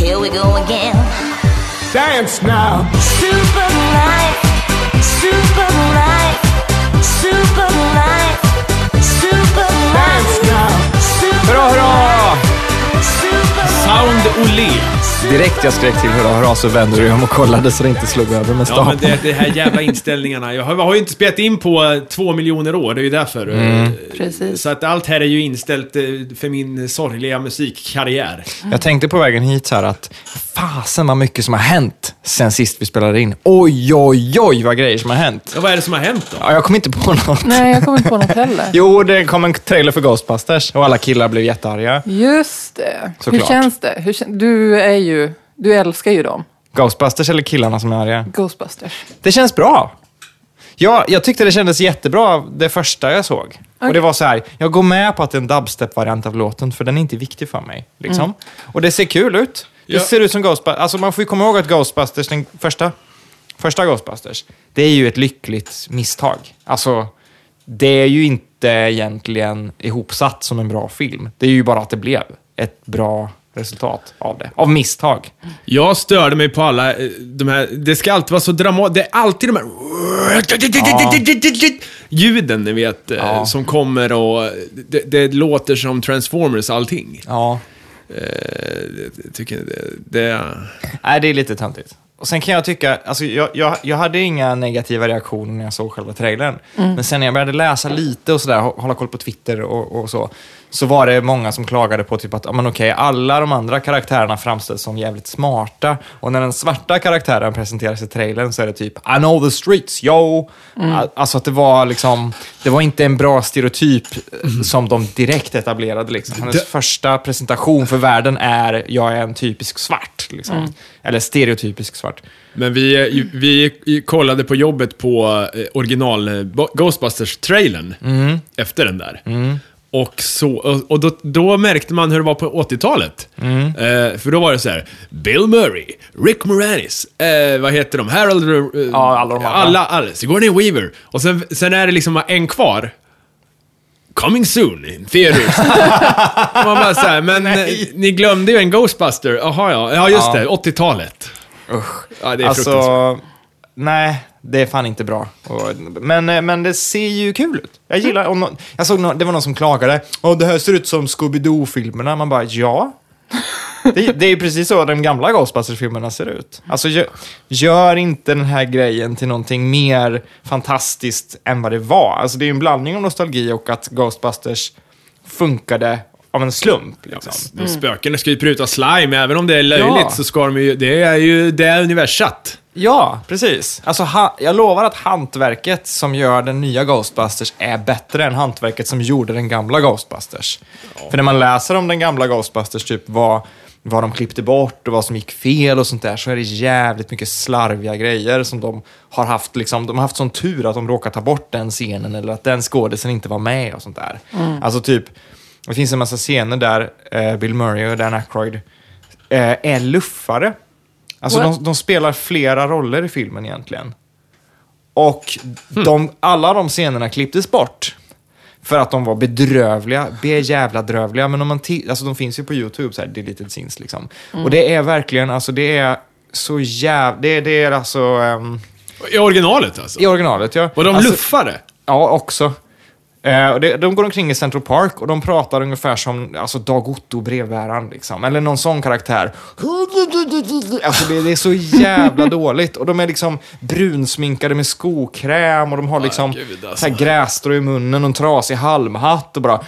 we go again. Dance now. Super life, super life, super life, super Dance life, now. super Hurra, hurra! super Sound Olé. Direkt jag skrek till hurra, hurra så vände du dig om och kollade så det inte slog över med Ja, stapeln. men det, det här jävla inställningarna. Jag har, har ju inte spelat in på eh, två miljoner år, det är ju därför. Eh, Precis. Så att allt här är ju inställt eh, för min sorgliga musikkarriär. Jag tänkte på vägen hit så här att fasen vad mycket som har hänt sen sist vi spelade in. Oj, oj, oj vad grejer som har hänt. Ja, vad är det som har hänt då? Ja, jag kom inte på något. Nej, jag kommer inte på något heller. Jo, det kom en trailer för Ghostbusters och alla killar blev jättearga. Just det. Såklart. Hur känns det? Hur, kän- du, är ju, du älskar ju dem. Ghostbusters eller killarna som är arga? Ghostbusters. Det känns bra. Ja, jag tyckte det kändes jättebra det första jag såg. Och det var så här, jag går med på att det är en dubstep-variant av låten för den är inte viktig för mig. Liksom. Och det ser kul ut. Det Ja. ser ut som Ghostbusters. Alltså man får ju komma ihåg att Ghostbusters, den första, första Ghostbusters, det är ju ett lyckligt misstag. Alltså, det är ju inte egentligen ihopsatt som en bra film. Det är ju bara att det blev ett bra resultat av det. Av misstag. Jag störde mig på alla eh, de här, det ska alltid vara så dramatiskt, det är alltid de här ljuden ni vet, eh, Ja. som kommer och eh, det, det låter som Transformers allting. Ja. Jag tycker det, det, Nej, det är lite töntigt. Och sen kan jag tycka, alltså jag, jag, jag hade inga negativa reaktioner när jag såg själva trailern. Men sen när jag började läsa lite och sådär, hå- hålla koll på Twitter och, och så, så var det många som klagade på typ att, ja men okej, alla de andra karaktärerna framställs som jävligt smarta. Och när den svarta karaktären presenteras i trailern så är det typ, I know the streets, yo! A- Alltså att det var liksom, det var inte en bra stereotyp eh, som de direkt etablerade liksom. Hennes Det- första presentation för världen är jag är en typisk svart. Liksom. Eller stereotypisk svart. Men vi, eh, ju- vi eh, kollade på jobbet på eh, original eh, Bo- Ghostbusters-trailern Mm. efter den där. Och, så, och och då, då märkte man hur det var på 80-talet. Mm. Eh, för då var det så här: Bill Murray, Rick Moranis, eh, vad heter de? Harold... eh, Ja, alla de andra. alla, alla. Sigourney Weaver. Och sen, sen är det liksom bara en kvar. Coming soon in theaters. Man bara så här, men eh, ni glömde ju en Ghostbuster. Jaha, ja. Ja, just Ja. det. 80-talet. Usch. Ja, det är fruktansvärt. Alltså, nej, det är fan inte bra. Och, men, eh, men det ser ju kul ut. Jag gillar, och nå- jag såg nå- det var någon som klagade, Åh, det här ser ut som Scooby-Doo-filmerna. Man bara, ja. Det, det är ju precis så de gamla Ghostbusters-filmerna ser ut. Alltså, gö- gör inte den här grejen till någonting mer fantastiskt än vad det var. Alltså, det är ju en blandning av nostalgi och att Ghostbusters funkade av en slump. Liksom. Mm. Spöken ska ju pruta slime, även om det är löjligt Ja. så ska de ju... Det är ju det är universat. Ja, precis. Alltså, ha, jag lovar att hantverket som gör den nya Ghostbusters är bättre än hantverket som gjorde den gamla Ghostbusters. För när man läser om den gamla Ghostbusters, typ vad, vad de klippte bort och vad som gick fel och sånt där, så är det jävligt mycket slarviga grejer som de har haft. Liksom, de har haft sån tur att de råkat ta bort den scenen eller att den skådisen inte var med och sånt där. Alltså typ, det finns en massa scener där eh, Bill Murray och Dan Aykroyd eh, är luffare. Alltså What? de, de spelar flera roller i filmen egentligen. Och de, alla de scenerna klipptes bort. För att de var bedrövliga, bejävla drövliga. Men om man ti- alltså de finns ju på YouTube, så här, deleted scenes liksom. Och det är verkligen, alltså det är så jävla, det, det är alltså, ehm, I originalet alltså. i originalet ja. Var de alltså, luffare? Ja, också. Eh, och det, de går omkring i Central Park och de pratar ungefär som alltså, Dag Otto brevbäraren, liksom. eller någon sån karaktär. Alltså, det, det är så jävla dåligt. Och de är liksom brunsminkade med skokräm och de har liksom gud, alltså. så här grässtrå i munnen och en trasig halmhatt och bara...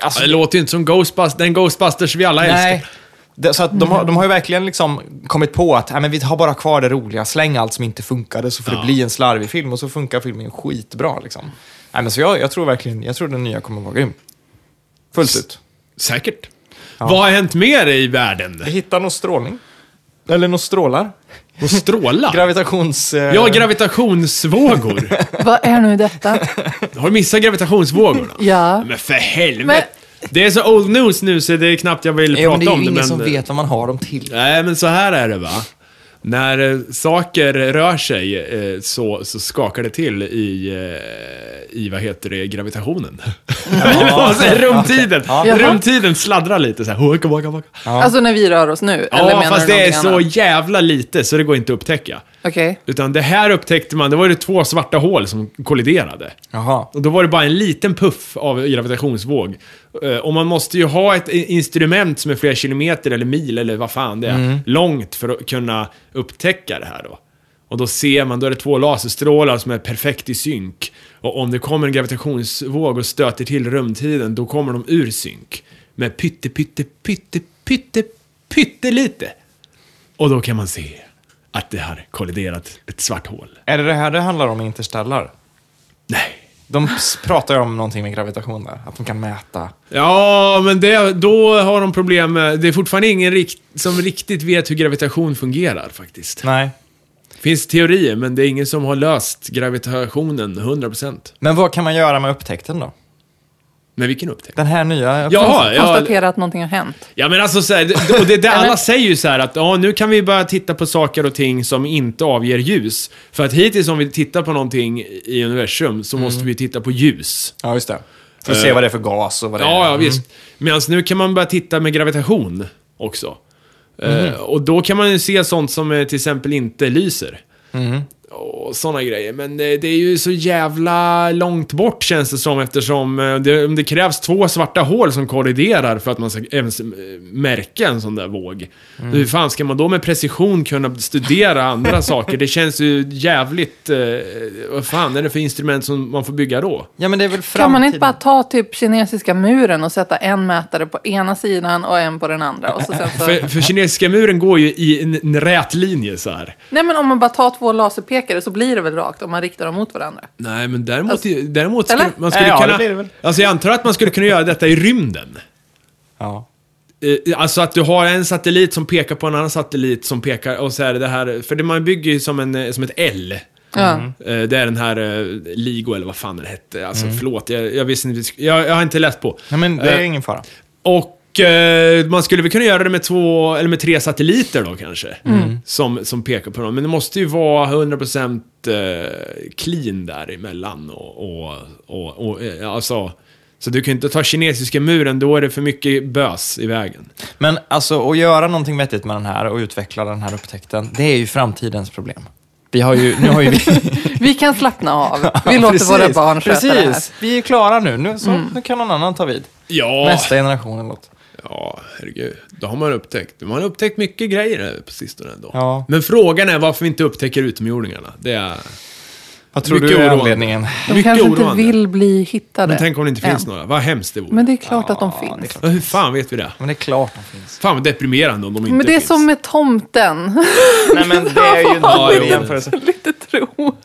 Alltså, Det låter ju inte som Ghostbusters, den Ghostbusters vi alla Nej. älskar. Det, så att de, har, de har ju verkligen liksom kommit på att "Nej, men vi har bara kvar det roliga, släng allt som inte funkade så får det bli en slarvig film och så funkar filmen skitbra. Liksom. Nej, men så jag, jag tror verkligen, jag tror den nya kommer vara grym. Fullt ut. Säkert. Vad har hänt mer i världen? Vi hittar någon strålning. Eller någon strålar. Och strålar? Gravitations... Eh, Ja, gravitationsvågor. Vad är nu detta? Har du missat gravitationsvågorna? Ja. Men för helvete. Det är så old news nu så det är knappt jag vill jo, men det prata är om ju det. ingen Men... som vet vad man har dem till. Nej, men så här är det va. När eh, saker rör sig eh, så, så skakar det till i, eh, i vad heter det, gravitationen. Eller vad man säger, rumtiden. Jaha. Rumtiden sladdrar lite så här. Waka, waka, waka. Alltså när vi rör oss nu? eller Ja, menar fast du det är någonting så annat? jävla lite så det går inte att upptäcka. Okej. Utan det här upptäckte man, det var ju två svarta hål som kolliderade. Jaha. Och då var det bara en liten puff av gravitationsvåg. Eh, Och man måste ju ha ett i- instrument som är flera kilometer eller mil eller vad fan det är, långt för att kunna upptäcka det här då. Och då ser man, då är det två laserstrålar som är perfekt i synk. Och om det kommer en gravitationsvåg och stöter till rumtiden, då kommer de ur synk. Med pytte, pytte, pytte, pytte, pyttelite. Och då kan man se att det har kolliderat ett svart hål. Är det det här det handlar om i Interstellar? Nej. De s- pratar ju om någonting med gravitation där, att de kan mäta. Ja, men det, då har de problem med... Det är fortfarande ingen rikt, som riktigt vet hur gravitation fungerar faktiskt. Nej. Det finns teorier, men det är ingen som har löst gravitationen 100%. Men vad kan man göra med upptäckten då? Men vilken upptäckt? Den här nya upptäckten? Jaha, ja, Konstatera att någonting har hänt. ja men alltså så här, det, och det, det, Eller? alla säger ju så här att ja, nu kan vi börja titta på saker och ting som inte avger ljus. För att hittills om vi tittar på någonting i universum så måste vi titta på ljus. Ja, just det. För att se vad det är för gas och vad det Ja, är. Mm. ja visst. Medan nu kan man börja titta med gravitation också. Mhm. Eh, och då kan man ju se sånt som eh, till exempel inte lyser. Mhm. Och sådana grejer. Men eh, det är ju så jävla långt bort känns det som eftersom eh, det, om det krävs två svarta hål som kolliderar för att man ska ens eh, märka en sån där våg. Mm. Hur fan ska man då med precision kunna studera andra saker? Det känns ju jävligt... Eh, vad fan är det för instrument som man får bygga då? Ja, men det är väl framtiden. Kan man inte bara ta typ kinesiska muren och sätta en mätare på ena sidan och en på den andra? Och så sen så... För, för kinesiska muren går ju i en, en rät linje så här. Nej men om man bara tar två laserpekare så blir det väl rakt om man riktar dem mot varandra? Nej, men däremot, Alltså, däremot skulle eller? man skulle Ja, det kunna... blir det väl. Alltså jag antar att man skulle kunna göra detta i rymden. Ja. Eh, Alltså att du har en satellit som pekar på en annan satellit som pekar och så är det det här... För det man bygger ju som, en, eh, som ett L. Ja. Eh, Det är den här eh, LIGO eller vad fan den hette. Alltså förlåt, jag, jag visste inte. Jag, jag har inte läst på. Nej, men det är Eh, ingen fara. Och eh, man skulle väl kunna göra det med två, eller med tre satelliter då kanske. Mm. Som, som pekar på dem. Men det måste ju vara 100% eh, clean däremellan. Och, och, och, och, eh, alltså, så du kan ju inte ta kinesiska muren, då är det för mycket bös i vägen. Men alltså, att göra någonting vettigt med den här och utveckla den här upptäckten, det är ju framtidens problem. Vi har ju, nu har ju vi... Vi kan slappna av. Vi låter våra barn sköta Precis, det här. Mm. vi är klara nu. Nu, så, nu kan någon annan ta vid. Ja, Nästa generation eller något. ja herregud. Då har man upptäckt. Man har upptäckt mycket grejer här på sistone ändå. Ja. Men frågan är varför vi inte upptäcker utomjordingarna. Det är Vad tror Mycket du är oroande. anledningen? De mycket kanske inte oroande. vill bli hittade. Men tänk om det inte finns än. några. Vad hemskt det vore. Men det är klart att de finns. Ja, Hur fan vet vi det? Men det är klart de finns. Fan vad deprimerande om de inte Men det är finns. som med tomten. Nej, men det är ju en dålig jämförelse. Lite tro.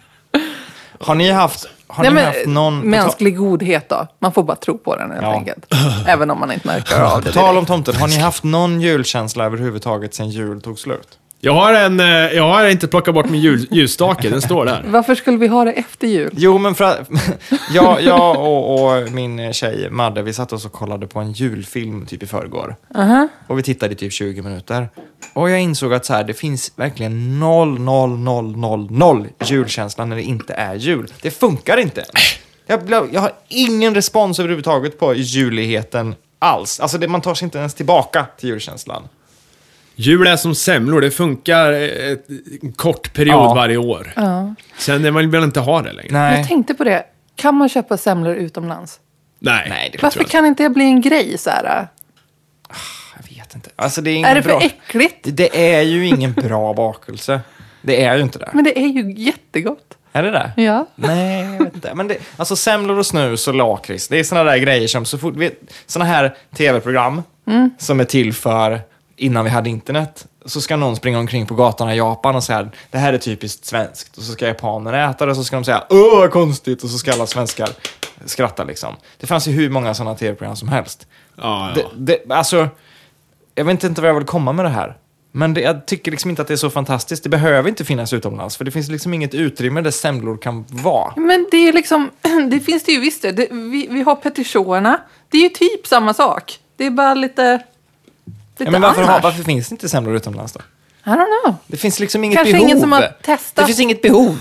Har ni haft, har Nej, ni men, haft någon... mänsklig godhet då. Man får bara tro på den helt Ja. enkelt. Även om man inte märker av På det. tal om tomten, har ni haft någon julkänsla överhuvudtaget sen jul tog slut? Jag har en... eh, Jag har inte plockat bort min jul, ljusstake, den står där. Varför skulle vi ha det efter jul? Jo, men för att, jag, jag och, och min tjej Madde, vi satt oss och kollade på en julfilm typ i förrgår. Och vi tittade i typ 20 minuter. Och jag insåg att så här, det finns verkligen noll, noll, noll, noll, noll julkänsla när det inte är jul. Det funkar inte. Jag, blev- jag har ingen respons överhuvudtaget på juligheten alls. Alltså, det, man tar sig inte ens tillbaka till julkänslan. Jul är som semlor, det funkar eh, ett, en kort period Ja. varje år. Sen är man vill inte ha det längre. Nej. Jag tänkte på det. Kan man köpa semlor utomlands? Nej. Nej, det Varför kan inte det bli en grej så här? Jag vet inte. Alltså, det är, ingen Är det för bra... äckligt? Det är ju ingen bra bakelse. Det är ju inte det. Men det är ju jättegott. Är det det? Ja. Nej, jag vet inte. Men det, alltså semlor och snus och lakrits, det är såna där grejer som så fort... Vet, såna här tv-program som är till för innan vi hade internet så ska någon springa omkring på gatorna i Japan och säga det här är typiskt svenskt och så ska japanerna äta det och så ska de säga åh vad konstigt och så ska alla svenskar skratta liksom. Det fanns ju hur många såna tv-program som helst. Ja, ja. Det, det, alltså, jag vet inte vad jag vill komma med det här. Men det, jag tycker liksom inte att det är så fantastiskt. Det behöver inte finnas utomlands, för det finns liksom inget utrymme där semlor kan vara. Men det är liksom, det finns det ju visst det. det vi, vi har petitionerna. Det är ju typ samma sak. Det är bara lite, lite Ja, men varför, annars. har, varför finns det inte semlor utomlands då? I don't know. Det finns liksom inget Kanske behov. ingen som har testat. Det finns inget behov.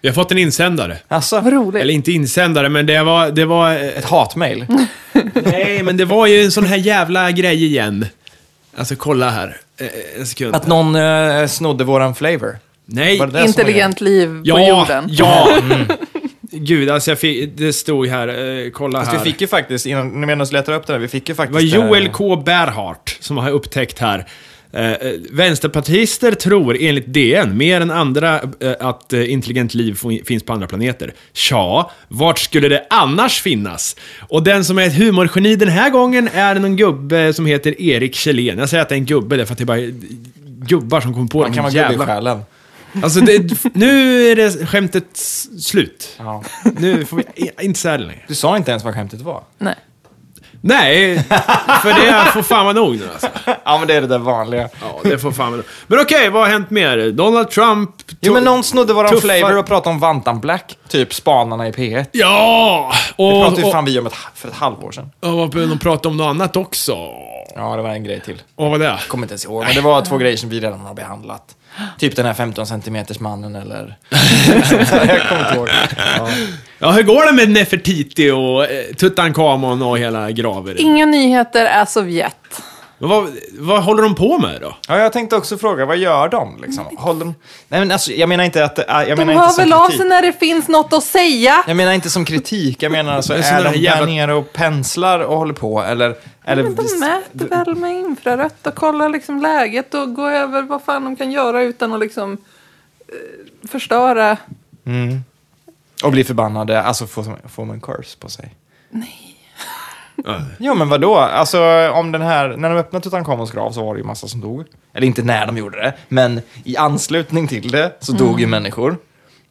Vi har fått en insändare. Alltså, Vad roligt. Eller inte insändare, men det var... Det var eh, ett hatmejl. Mm. nej, men det var ju en sån här jävla grej igen. Alltså, kolla här. Eh, En sekund. Att någon eh, snodde våran flavor. nej, Var det det som var grejen? Intelligent liv på ja, jorden. ja. Gud, alltså jag fick, det stod här, eh, kolla Fast här. Vi fick ju faktiskt, innan medan du letar upp det där, vi fick ju Det var faktiskt... Joel eh, K. Berhart som har upptäckt här. Eh, eh, vänsterpartister tror enligt DN mer än andra eh, att eh, intelligent liv fin- finns på andra planeter. Tja, vart skulle det annars finnas? Och den som är ett humorgeni den här gången är någon gubbe som heter Erik Kjellén. Jag säger att det är en gubbe därför att det är bara gubbar som kommer på Man de kan vara gubbig i jävla... själen. Alltså, det, nu är det skämtet s- slut. Ja. Nu får vi inte säga det längre. Du sa inte ens vad skämtet var. Nej. Nej, för det får fan vara nog nu alltså. Ja, men det är det där vanliga. Ja, det får fan vara Men okej, vad har hänt mer? Donald Trump... Jo, men någon snodde våran Tuffa- flavor och pratade om Vantan Black. Typ spanarna i P1. Ja! Det Och, pratade ju och, fan vi om ett, för ett halvår sedan. och, vad behöver de prata om något annat också. Ja, det var en grej till. Och vad var det? Kommer inte ens ihåg, men det var två grejer som vi redan har behandlat. Typ den här 15 centimeters mannen eller... jag kommer inte ihåg. Ja. Ja, hur går det med Nefertiti och eh, Tutankhamon och hela graven? Inga nyheter är Sovjet. Men Vad, vad håller de på med då? ja, jag tänkte också fråga, vad gör de liksom? Håller de... Nej, men alltså, jag menar inte att... äh, Jag De menar hör inte som väl av kritik. sig när det finns något att säga. Jag menar inte som kritik, jag menar alltså, Men är sådana de här jävla- där nere och penslar och håller på eller... eller Men de mäter väl med infrarött och kollar liksom läget och går över vad fan de kan göra utan att liksom eh, förstöra. och blir förbannade, alltså får, får man curse på sig? Ja. Jo men vadå, alltså om den här, när de öppnade Tutankhamons grav så var det ju massa som dog. Eller inte när de gjorde det, men i anslutning till det så dog ju människor.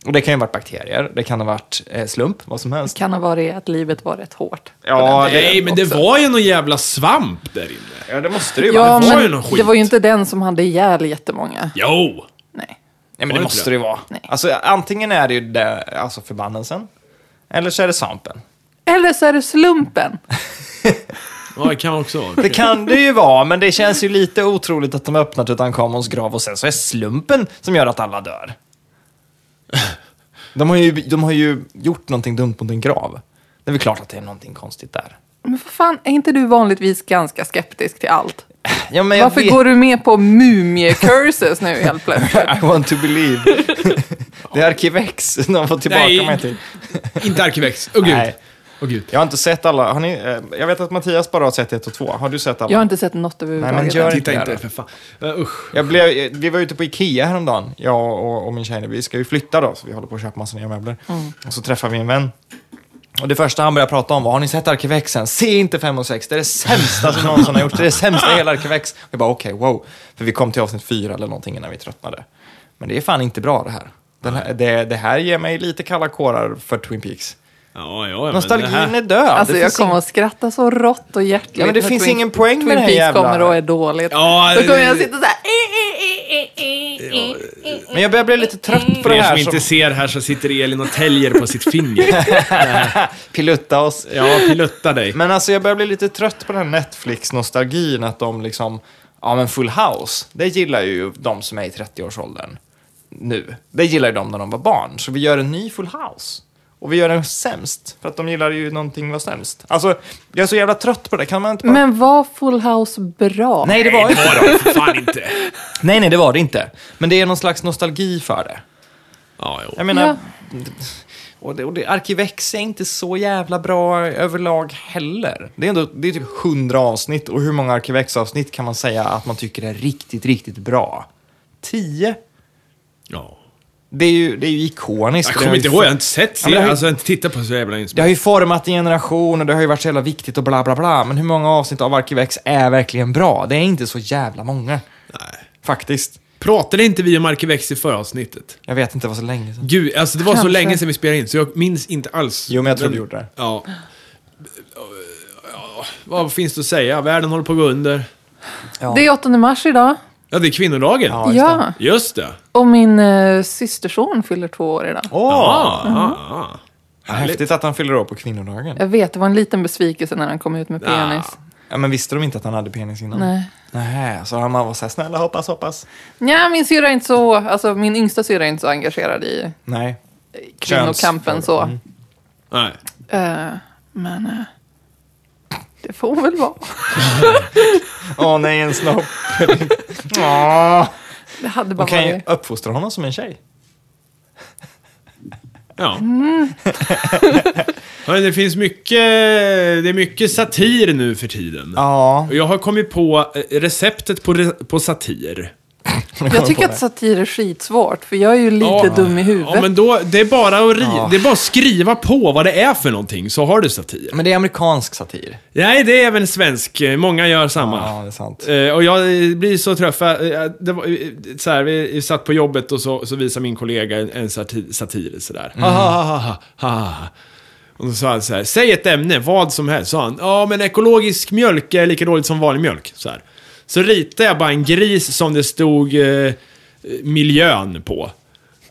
Och det kan ju ha varit bakterier, det kan ha varit eh, slump, vad som helst. Kan ha varit att livet var rätt hårt. Ja, Nej, men det var ju någon jävla svamp där inne. ja, det måste det ju Ja, vara. det var men ju någon skit. det var ju inte den som hade ihjäl jättemånga. Jo! Nej. Nej, men det det måste inte det ju vara. Nej. Alltså antingen är det ju det, alltså förbannelsen, eller så är det svampen. Eller så är det slumpen. Ja, det kan också vara. Det kan det ju vara, men det känns ju lite otroligt att de öppnar Tutankhamons grav och sen så är slumpen som gör att alla dör. De har ju, de har ju gjort någonting dumt mot en grav. Det är väl klart att det är någonting konstigt där. Men för fan, är inte du vanligtvis ganska skeptisk till allt? Ja, men jag Varför vet- går du med på mumie-curses nu helt plötsligt? I want to believe. Det är Arkivex de får tillbaka Nej. mig till. inte Arkivex. Åh gud. Nej. Åh gud. Jag har inte sett alla. Har ni, eh, jag vet att Mattias bara har sett ett och två. Har du sett alla? Jag har inte sett något men överhuvudtaget. gör det. Titta Inte inte, det. för fan. Uh, usch. Jag blev, eh, vi var ute på Ikea häromdagen, jag och, och min tjej. Vi ska ju flytta då, så vi håller på att köpa massa nya möbler. Mm. Och så träffar vi en vän. Och det första han började prata om var, har ni sett Arkivexen? Se inte 5 och 6, det är det sämsta som någonsin har gjorts. Det är det sämsta i hela Arkivex. Vi bara, okej, wow. För vi kom till avsnitt fyra eller någonting innan vi tröttnade. Men det är fan inte bra det här. Den här det, det här ger mig lite kalla kårar för Twin Peaks. Ja, ja, men Nostalgin det här- är död. Alltså Det jag finns kommer ing- att skratta så rått och hjärtligt. Ja, men det när finns Twin- ingen poäng med Twin den här Peaks jävla- kommer och är dåligt. Ja, Då kommer det- jag sitta så här. Men jag börjar bli lite trött på För det er här. som inte ser här så sitter Elin och täljer på sitt finger. Pilutta oss. Ja, pilutta dig. Men alltså jag börjar bli lite trött på den här Netflix-nostalgin att de liksom, ja men Full House, det gillar ju de som är i 30-årsåldern nu. Det gillar ju de när de var barn, så vi gör en ny Full House. Och vi gör den sämst, för att de gillar ju någonting var sämst. Alltså, jag är så jävla trött på det, kan man inte bara... Men var Full House bra? Nej, det var inte Var de för fan inte. Nej, nej, det var det inte. Men det är någon slags nostalgi för det. Ja, jo. Jag menar... Ja. Och, det, och det, Arkivex är inte så jävla bra överlag heller. Det är, ändå, det är typ 100 avsnitt och hur många Arkivex-avsnitt kan man säga att man tycker är riktigt, riktigt bra? 10? Ja. Det är ju, det är ju ikoniskt. Jag Det har kommer ju inte fo- ihåg, jag har inte sett Ja, men det serien. har ju- Alltså, jag har inte tittat på så jävla länge. Det har ju format en generation och det har ju varit så jävla viktigt och bla bla bla. Men hur många avsnitt av Arkivex är verkligen bra? Det är inte så jävla många. Nej. Faktiskt. Pratade inte vi om Arkivex i förra avsnittet? Jag vet inte, det var så länge sedan. Gud, alltså det var så Kanske. länge sedan vi spelade in, så jag minns inte alls. Jo, men jag tror vi gjorde det. Ja. Ja, Vad finns det att säga? Världen håller på att gå under. Det är 8 mars idag. Ja, det är kvinnodagen. Ja, just ja. Just det. Och min eh, systerson fyller två år idag. Åh! Ah, ah, ah. Häftigt att han fyller år på kvinnodagen. Jag vet, det var en liten besvikelse när han kom ut med Ah. penis. Ja, men visste de inte att han hade penis innan? Nej. Nej, så han var så här, snälla hoppas, hoppas. Nja, min syrra är inte så, alltså min yngsta syrra är inte så engagerad i Nej. kvinnokampen så. Mm. Nej. Eh, men eh, det får väl vara. Åh nej, en snopp. Åh. Det hade bara Man kan ju varit... uppfostra honom som en tjej. Ja. Mm. ja. Det finns mycket, det är mycket satir nu för tiden. Ja. Och Jag har kommit på eh, receptet på, re- på satir. Jag tycker att satir är skitsvårt, för jag är ju lite dum i huvudet. Ja, men då, det är bara att ri- det är bara att skriva på vad det är för någonting, så har du satir. Men det är amerikansk satir. Nej, det är även svensk. eh, Många gör samma. Ja, det är sant. Eh, och jag eh, blir så träffad. Eh, det var, eh, så här, vi satt på jobbet och så, så visade min kollega en, en satir, satir sådär. Ha, ha, ha, ha, ha, ha. Och så sa han så här, säg ett ämne, vad som helst. Sa han, ja men ekologisk mjölk är lika dåligt som vanlig mjölk. Så, här. så ritade jag bara en gris som det stod eh, miljön på.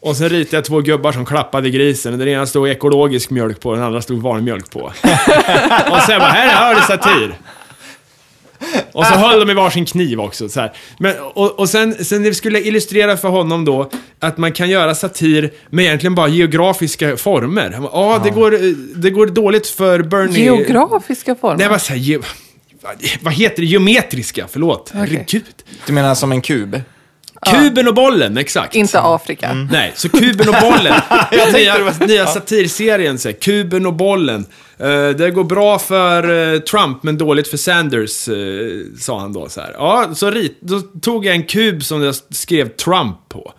Och sen ritade jag två gubbar som klappade grisen. Den ena stod ekologisk mjölk på, den andra stod vanlig mjölk på. och sen bara, här har du satir. Och så höll de i varsin kniv också. Så här. Men, och, och sen, sen det skulle illustrera för honom då att man kan göra satir med egentligen bara geografiska former. Han bara, ah, det, går, eh, det går dåligt för Bernie... Geografiska former. Nej, vad säger ge... Vad heter det? Geometriska, förlåt. Herregud. Du menar som en kub? Kuben och bollen, exakt. Inte Afrika. Mm. Nej, så Kuben och bollen. nya, nya satirserien, så här, Kuben och bollen. Eh, det går bra för eh, Trump men dåligt för Sanders, eh, sa han då. Så här. Ja, så rit, då tog jag en kub som jag skrev Trump på.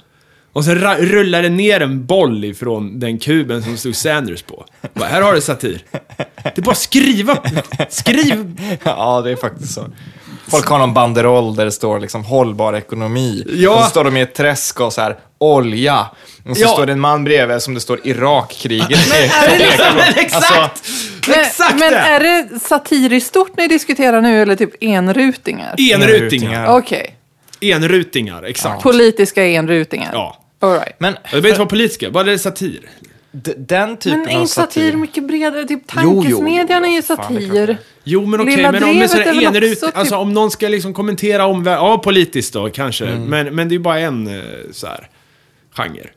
Och sen ra- rullade ner en boll ifrån den kuben som stod Sanders på. Bara, här har du satir. Det är bara att skriva. Skriv. Ja, det är faktiskt så. Folk har någon banderoll där det står liksom hållbar ekonomi. Ja. Och så står de i ett träsk och så här olja. Och så Ja. står det en man bredvid som det står Irakkriget. Är det liksom, Exakt! Alltså, Exakt men det! är det satir i stort ni diskuterar nu, eller typ enrutingar? Enrutingar. Okej. Enrutingar, exakt. Politiska enrutingar. Ja. All right. Men Det behöver inte vara politiska, bara det är satir. d- den typen Men av är satir satir... mycket bredare? Typ jo. tankesmedjan är ju Fan, det är klart satir. Jo men okej, Lilla men om, en Drevet sån är här väl också enrut, typ- alltså, om någon ska liksom kommentera omvärlden, ja politiskt då kanske, Mm. men, men det är ju bara en eh, så här, genre.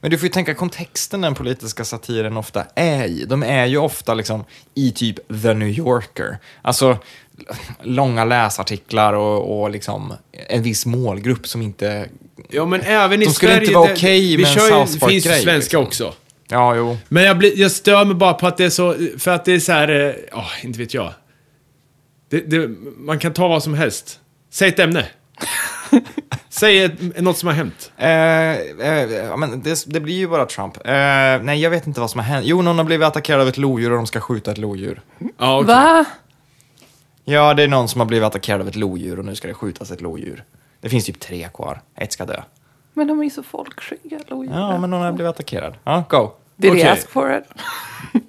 Men du får ju tänka kontexten den politiska satiren ofta är i. De är ju ofta liksom i typ The New Yorker. Alltså l- långa läsartiklar och, och liksom en viss målgrupp som inte... Ja men även i De skulle Sverige, inte vara det- okej vi med en kör ju- South Park-grej, finns ju svenska liksom. också. Ja, jo. Men jag, blir, jag stör mig bara på att det är så, för att det är så här, eh, ja inte vet jag. Det, det, man kan ta vad som helst. Säg ett ämne. Säg ett, något som har hänt. Eh, eh, ja, men det, det blir ju bara Trump. Eh, nej, jag vet inte vad som har hänt. Jo, någon har blivit attackerad av ett lodjur och de ska skjuta ett lodjur. Ja, okej. Va? Ja, det är någon som har blivit attackerad av ett lodjur och nu ska det skjutas ett lodjur. Det finns typ tre kvar. Ett ska dö. Men de är ju så folkskygga. lojala. Ja, men någon har blivit attackerad. Ja, go. Did Okej. he ask for it?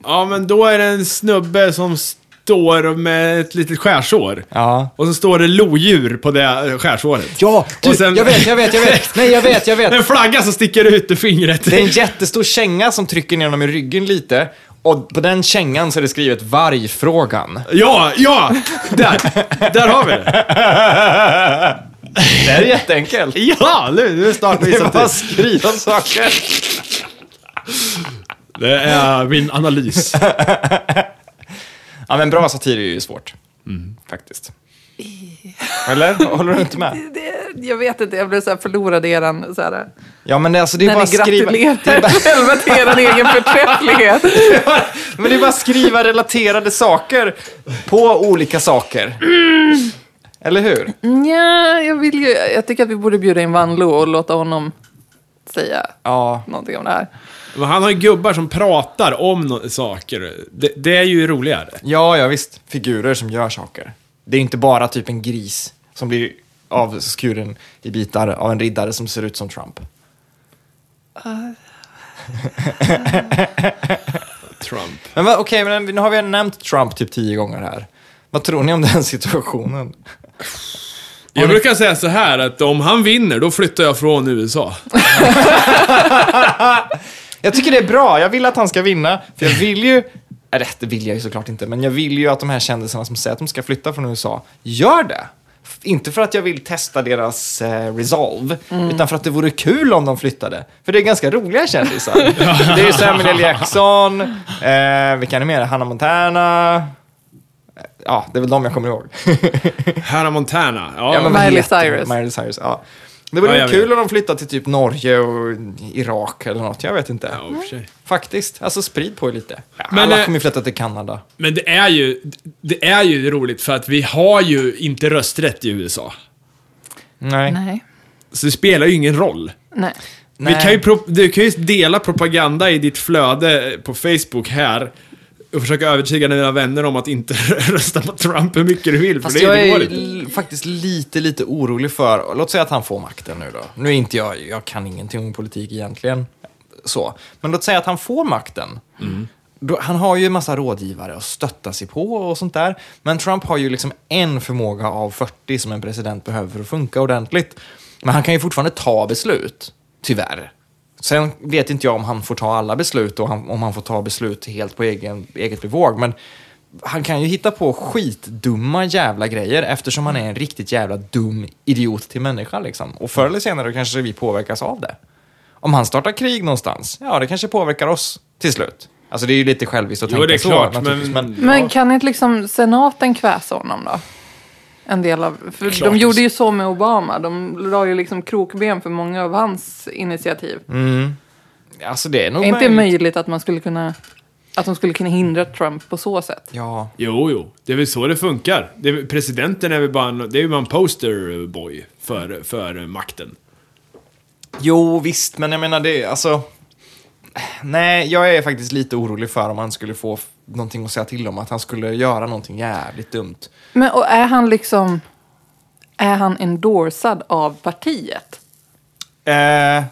Ja, men då är det en snubbe som står med ett litet skärsår. Ja. Och så står det lodjur på det eh, skärsåret. Ja, du, Och sen- jag vet, jag vet, jag vet. Nej, jag vet, jag vet. En flagga som sticker ut ur fingret. Det är en jättestor känga som trycker ner honom i ryggen lite. Och på den kängan så är det skrivet vargfrågan. Ja, ja! Där! Där har vi det. Det är jätteenkelt. Ja, nu, nu är det snart Det är bara att visat skriva saker. Det är min analys. Ja, men bra satir är ju svårt. Mm. Faktiskt. Eller? Håller du inte med? Det, jag vet inte, jag blev så här förlorad i eran... Så här, Ja, men det, alltså, det är när bara ni att skriva... gratulerar själva till er egen förträfflighet. Men det är bara att skriva relaterade saker på olika saker. Mm. Eller hur? Nja, jag vill ju... Jag tycker att vi borde bjuda in Vanlo och låta honom säga Ja. någonting om det här. Men Han har ju gubbar som pratar om no- saker. Det, det är ju roligare. Ja, ja visst. Figurer som gör saker. Det är inte bara typ en gris som blir avskuren i bitar av en riddare som ser ut som Trump. Trump. Men vad- okej, men nu har vi nämnt Trump typ tio gånger här. Vad tror ni om den situationen? Jag brukar säga så här att om han vinner, då flyttar jag från USA. Jag tycker det är bra. Jag vill att han ska vinna, för jag vill ju Eller det vill jag ju såklart inte, men jag vill ju att de här kändisarna som säger att de ska flytta från USA, gör det! F- Inte för att jag vill testa deras eh, resolve, Mm. utan för att det vore kul om de flyttade. För det är ganska roliga kändisar. det är Samuel L. Jackson, eh, vilka är det mer? Hannah Montana. Eh, Ja, det är väl de jag kommer ihåg. Hannah Montana. Ja, Ja, men vad Miley heter de? Cyrus. Miley Cyrus, ja. Det vore Ja, väl jag kul vet. om de flyttade till typ Norge och Irak eller något, jag vet inte. ja, i och för sig. Faktiskt, alltså sprid på er lite. Men, Alla eh, kommer ju flytta till Kanada. Men det är, ju, det är ju roligt för att vi har ju inte rösträtt i USA. Nej. Nej. Så det spelar ju ingen roll. Nej. Nej. Vi kan ju pro- du kan ju dela propaganda i ditt flöde på Facebook här och försöka övertyga dina vänner om att inte rösta på Trump hur mycket du vill, för Fast det är jag ju är dåligt. ju l- faktiskt lite, lite orolig för, låt säga att han får makten nu då. Nu är inte jag, jag kan ingenting om politik egentligen. Så. Men låt säga att han får makten. Då, han har ju en massa rådgivare att stötta sig på och sånt där. Men Trump har ju liksom en förmåga av 40 som en president behöver för att funka ordentligt. Men han kan ju fortfarande ta beslut, tyvärr. Sen vet inte jag om han får ta alla beslut och han, om han får ta beslut helt på egen, eget bevåg. Men han kan ju hitta på skitdumma jävla grejer eftersom han är en riktigt jävla dum idiot till människa. Liksom. Och förr eller senare kanske vi påverkas av det. Om han startar krig någonstans, ja det kanske påverkar oss till slut. Alltså det är ju lite själviskt att Jo, tänka det är klart, så naturligtvis, men- Men kan inte liksom senaten kväsa honom då? En del av, för Klart. de gjorde ju så med Obama. De la ju liksom krokben för många av hans initiativ. Alltså det Mm. är nog Är inte det möjligt att man skulle kunna... Att de skulle kunna hindra Trump på så sätt? Ja, Jo, jo. Det är väl så det funkar. Det är, väl- presidenten är väl bara en, det är ju bara en posterboy för, för makten. jo visst, men jag menar det, alltså. Nej, jag är faktiskt lite orolig för om han skulle få f- någonting att säga till om, att han skulle göra någonting jävligt dumt. Men och är han liksom... Är han endorsad av partiet? Eh,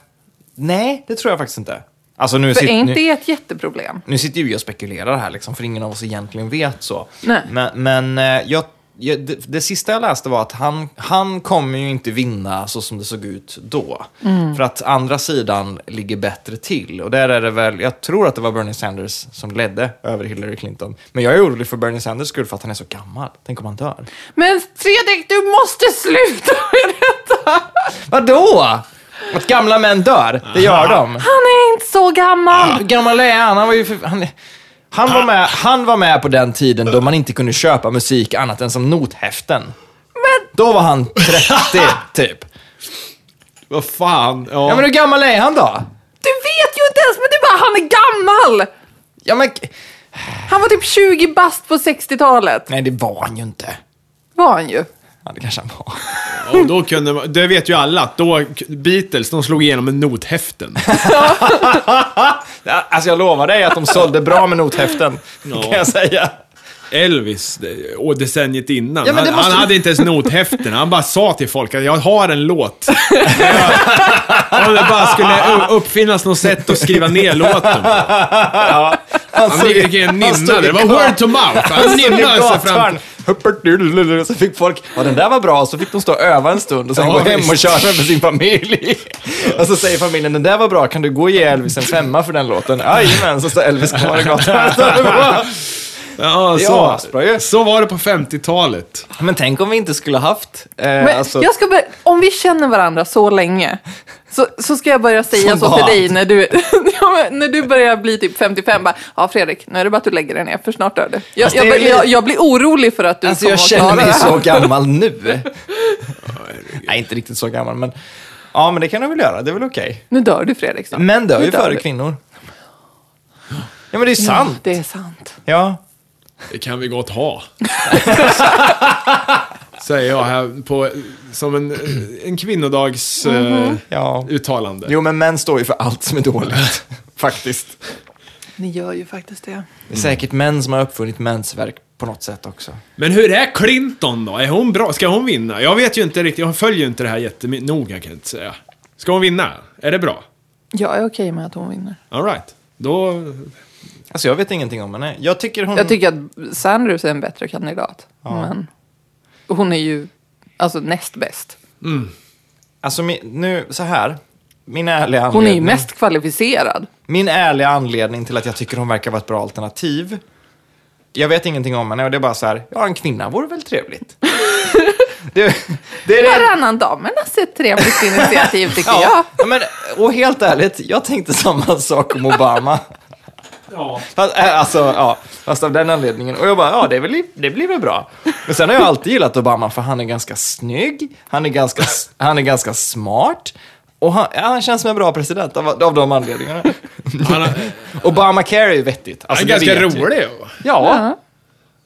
nej, det tror jag faktiskt inte. Alltså nu, För sit, är nu, inte det ett jätteproblem? nu sitter ju jag och spekulerar här, liksom, för ingen av oss egentligen vet så. Nej. Men, men eh, jag, jag, det, det sista jag läste var att han, han kommer ju inte vinna så som det såg ut då. För att andra sidan ligger bättre till. Och där är det väl, jag tror att det var Bernie Sanders som ledde över Hillary Clinton. Men jag är orolig för Bernie Sanders skull för att han är så gammal. Tänk om han dör. Men Fredrik, du måste sluta med detta! Vadå? Att gamla män dör, det gör de. Han är inte så gammal! Hur gammal är han? Han var ju för, han, han, var med, han var med på den tiden då man inte kunde köpa musik annat än som nothäften. Då var han 30, typ. Vad fan? Ja. Ja, men hur gammal är han då? Du vet ju inte ens, men du bara, han är gammal! Ja, men... Han var typ 20 bast på 60-talet. Nej, det var han ju inte. var Var han ju. Ja, det kanske han var. Och då kunde man, det vet ju alla att då, Beatles, de slog igenom med nothäften. Ja, Alltså, jag lovar dig att de sålde bra med nothäften, Ja. kan jag säga. Elvis, det- och decenniet innan, Ja, men det han, måste- han hade inte ens nothäften. Han bara sa till folk att jag har en låt. Om det bara skulle u- uppfinnas något sätt att skriva ner låten. Han stod i- vilken han stod i nynna. Det var gatan. word to mouth. Han Alltså, nynnade sig fram. Huppertuddelulul, Så fick folk, ja den där var bra, så fick de stå och öva en stund och sen Ja, gå hem och visst. köra med sin familj. Och så säger familjen, den där var bra, kan du gå och ge Elvis en femma för den låten? Jajamän, så står Elvis kvar i gatan. Så det var- Ja, Det är så, asbra ju. så var det på 50-talet. Men tänk om vi inte skulle haft, eh, Men alltså, jag ska börja, om vi känner varandra så länge så, så ska jag börja säga Som så till barn. dig när du, ja, men när du börjar bli typ 55. Bara, ja Fredrik, nu är det bara att du lägger dig ner för snart dör du. Jag, Fast Alltså, det jag, är jag, lite- jag, blir orolig för att du alltså kommer jag att känner klara mig det här. så gammal nu. Nej, inte riktigt så gammal, men ja, men det kan du väl göra, det är väl okej. Nu dör du Fredrik. snart. Män dör Nu ju före du. kvinnor. Ja, men det är Ja, sant. det är sant. Ja. Det kan vi gott ha. Säger jag här på, som en, en kvinnodags eh, Ja. uttalande. Mhm. Jo, men män står ju för allt som är dåligt. Faktiskt. Ni gör ju faktiskt det. Det är säkert män som har uppfunnit mänsverk på något sätt också. Men hur är Clinton då? Är hon bra? Ska hon vinna? Jag vet ju inte riktigt, jag följer ju inte det här jättenoga kan jag inte säga. Ska hon vinna? Är det bra? Jag är okej med att hon vinner. Alright. Då... Alltså jag vet ingenting om henne. Jag tycker hon... Jag tycker att Sanders är en bättre kandidat. Men hon är ju alltså näst bäst. Alltså mi- nu, så här. Min ärliga anledning... Hon är ju mest kvalificerad. Min ärliga anledning till att jag tycker hon verkar vara ett bra alternativ jag vet ingenting om henne och det är bara så här, ja en kvinna vore väl trevligt. det, det är det Varannan damernas är ett trevligt initiativ tycker jag. Ja, men, och helt ärligt, jag tänkte samma sak om Obama. Fast, äh, alltså, ja, fast av den anledningen. Och jag bara, ja det, blir, det blir väl bra. Men sen har jag alltid gillat Obama för han är ganska snygg, han är ganska, han är ganska smart. Och han, ja, han känns som en bra president av, av de anledningarna. Han är, Obamacare är ju vettigt. Alltså, han det är ganska vet vi. rolig. Ja,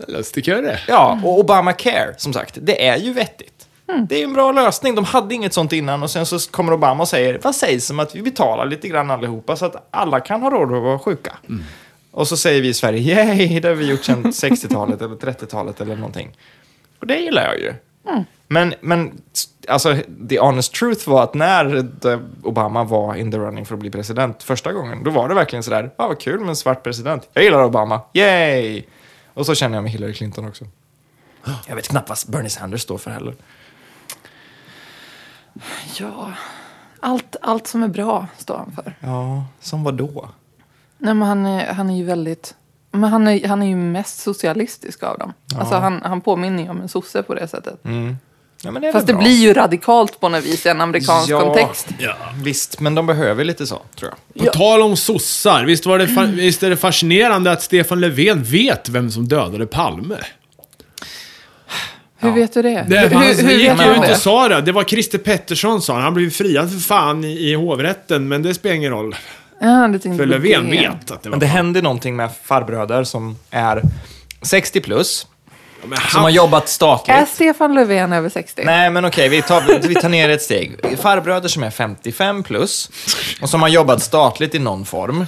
Lustig kurre. ja, och Obamacare, som sagt, det är ju vettigt. Det är ju en bra lösning. De hade inget sånt innan och sen så kommer Obama och säger, vad sägs om att vi betalar lite grann allihopa så att alla kan ha råd att vara sjuka? Och så säger vi i Sverige, yay, det har vi gjort sedan 60-talet eller 30-talet eller någonting. Och det gillar jag ju. Men, men alltså, the honest truth var att när eh, Obama var in the running för att bli president första gången, då var det verkligen sådär, ah, vad kul med en svart president. Jag gillar Obama, yay! Och så känner jag med Hillary Clinton också. Jag vet knappt vad Bernie Sanders står för heller. Ja. Allt, allt som är bra står han för. Ja, som vad då? Nej, men han, är, han är ju väldigt... Men han är, han är ju mest socialistisk av dem. Alltså han, han påminner ju om en sosse på det sättet. Ja, men det är Fast det väl bra. blir ju radikalt på något vis i en amerikansk Ja. kontext. Ja. Visst, men de behöver lite så, tror jag. På tal om sossar, visst, var det fa- Mm. visst är det fascinerande att Stefan Löfven vet vem som dödade Palme? Hur vet du det? Det, hur, han hur, hur gick vet ju du ut och det? sa det. Det var Christer Pettersson sa han. Han blev friad för fan i, i hovrätten, men det spelar ingen roll. Ja, det tänkte För jag. Löfven vet att det var... Men det händer någonting med farbröder som är 60 plus, men som har han, jobbat statligt. Är Stefan Löfven över 60? Nej, men okej, vi, tar, vi tar ner ett steg. Farbröder som är 55 plus och som har jobbat statligt i någon form.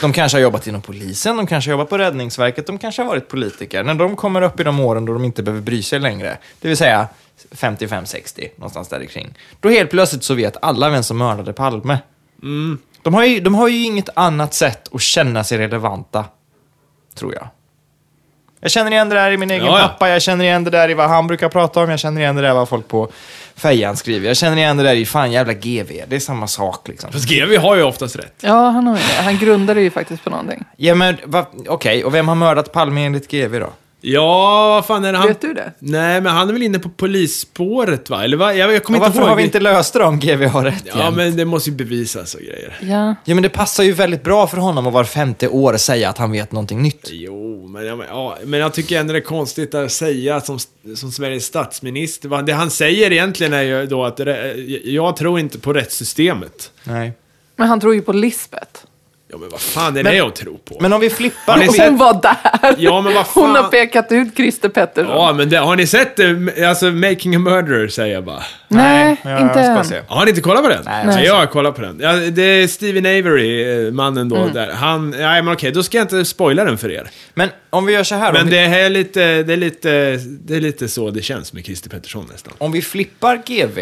De kanske har jobbat inom polisen, de kanske har jobbat på Räddningsverket, de kanske har varit politiker. När de kommer upp i de åren då de inte behöver bry sig längre, det vill säga 55-60, någonstans där kring. Då helt plötsligt så vet alla vem som mördade Palme. Mm. De, har ju, de har ju inget annat sätt att känna sig relevanta, tror jag. Jag känner igen det där i min egen Ja, ja. pappa, jag känner igen det där i vad han brukar prata om, jag känner igen det där vad folk på fejan skriver, jag känner igen det där i fan jävla GV, det är samma sak liksom. Fast GW har ju oftast rätt. Ja, han, har, ju det. han grundade ju faktiskt på någonting. Ja men va- okej, och vem har mördat Palme enligt GV då? Ja, vad fan är det han... Vet du det? Nej, men han är väl inne på polisspåret, va? Eller va? Jag, jag kommer Men inte varför ihåg. har vi inte löst det om GV har rätt Ja, igen? men det måste ju bevisas och grejer. Ja. Ja men det passar ju väldigt bra för honom att var femte år säga att han vet någonting nytt. Jo, men jag, men- ja, men jag tycker ändå det är konstigt att säga som, som Sveriges statsminister. va? Det han säger egentligen är ju då att det, jag tror inte på rättssystemet. Nej. Men han tror ju på Lisbeth. Ja, men vad fan är Men- det att tro på? Men om vi Har flippar... ni och- Och hon var där. Ja, men vad fan? Hon har pekat ut Christer Pettersson. Ja, men det, har ni sett det? Alltså, Making a Murderer säger jag bara. Nej, Ja, jag inte ska än. se. Har ni inte kollat på den? Nej, jag har kollat på den. Ja, det är Steven Avery, eh, mannen då, där. Han, nej men okej, då ska jag inte spoila den för er. Men om vi gör så här, om Men vi- det är lite, det är lite, det är lite så det känns med Christer Pettersson nästan. om vi flippar GV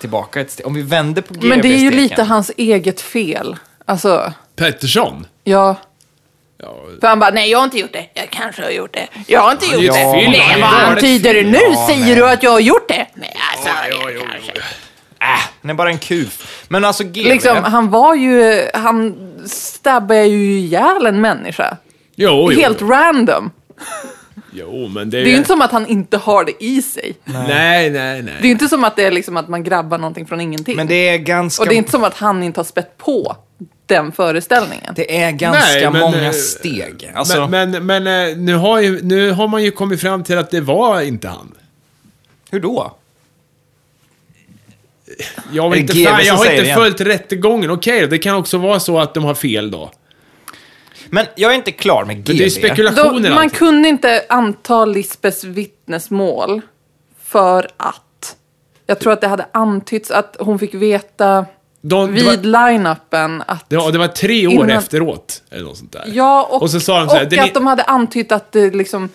tillbaka ett steg, om vi vänder på GV-steken. Men det är ju lite hans eget fel. Alltså, Pettersson? ja. Ja, För han bara, nej jag har inte gjort det. Jag kanske har gjort det. Jag har inte gjort ju ett det. fyll, Nej, han är vad ju dåligt antyder du nu? Ja, Säger nej. du att jag har gjort det? Nej, alltså, jag kanske. Äh, den är bara en kuf. Men alltså GV... Liksom, han var ju, han stabbade ju ihjäl en människa. jo, jo, Helt jo. random. jo, men det är Det är ju inte som att han inte har det i sig. Nej, nej, Det är nej. ju inte som att det är liksom att man grabbar någonting från ingenting. Men det är ganska... Och det är inte som att han inte har spett på den föreställningen. Det är ganska Nej, men, många eh, steg. Alltså, Men, men, men eh, nu, har ju, nu har man ju kommit fram till att det var inte han. hur då? Jag, Är vill det inte GV fan, jag som har säger inte det igen? följt rättegången. Okej, det kan också vara så att de har fel då. Men jag är inte klar med GV. Det är alltså. ju spekulationer. Då, man alltid. kunde inte anta Lisbeths vittnesmål för att jag tror att det hade antytts att hon fick veta De- det vid line-upen att Det var, det var tre år Innan- efteråt, eller något sånt där. Ja, och, och så sa de så här, och den att är- de hade antytt att det liksom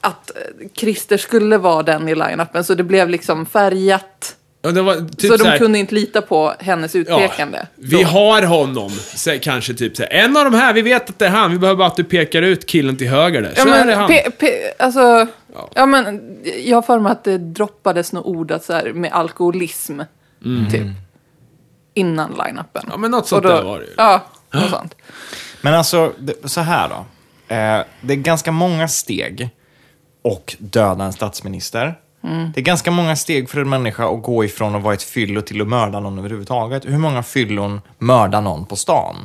att eh, Christer skulle vara den i line-upen så det blev liksom färgat. Ja, det var typ så de här, kunde inte lita på hennes ja, utpekande. Vi då. har honom, så, här, kanske typ så här, En av de här, vi vet att det är han. Vi behöver bara att du pekar ut killen till höger där. Så Ja, är det men, han. pe, pe, alltså, ja. men, jag har för mig att det droppades något ord att så här, med alkoholism, typ. Innan line-upen. Mm. Ja, men något Och sånt där var det ju. Ja, något sånt. Men alltså, det, så här då. Eh, det är ganska många steg och döda en statsminister. Mm. Det är ganska många steg för en människa att gå ifrån att vara ett fyllo till att mörda någon överhuvudtaget. Hur många fyllon mördar någon på stan?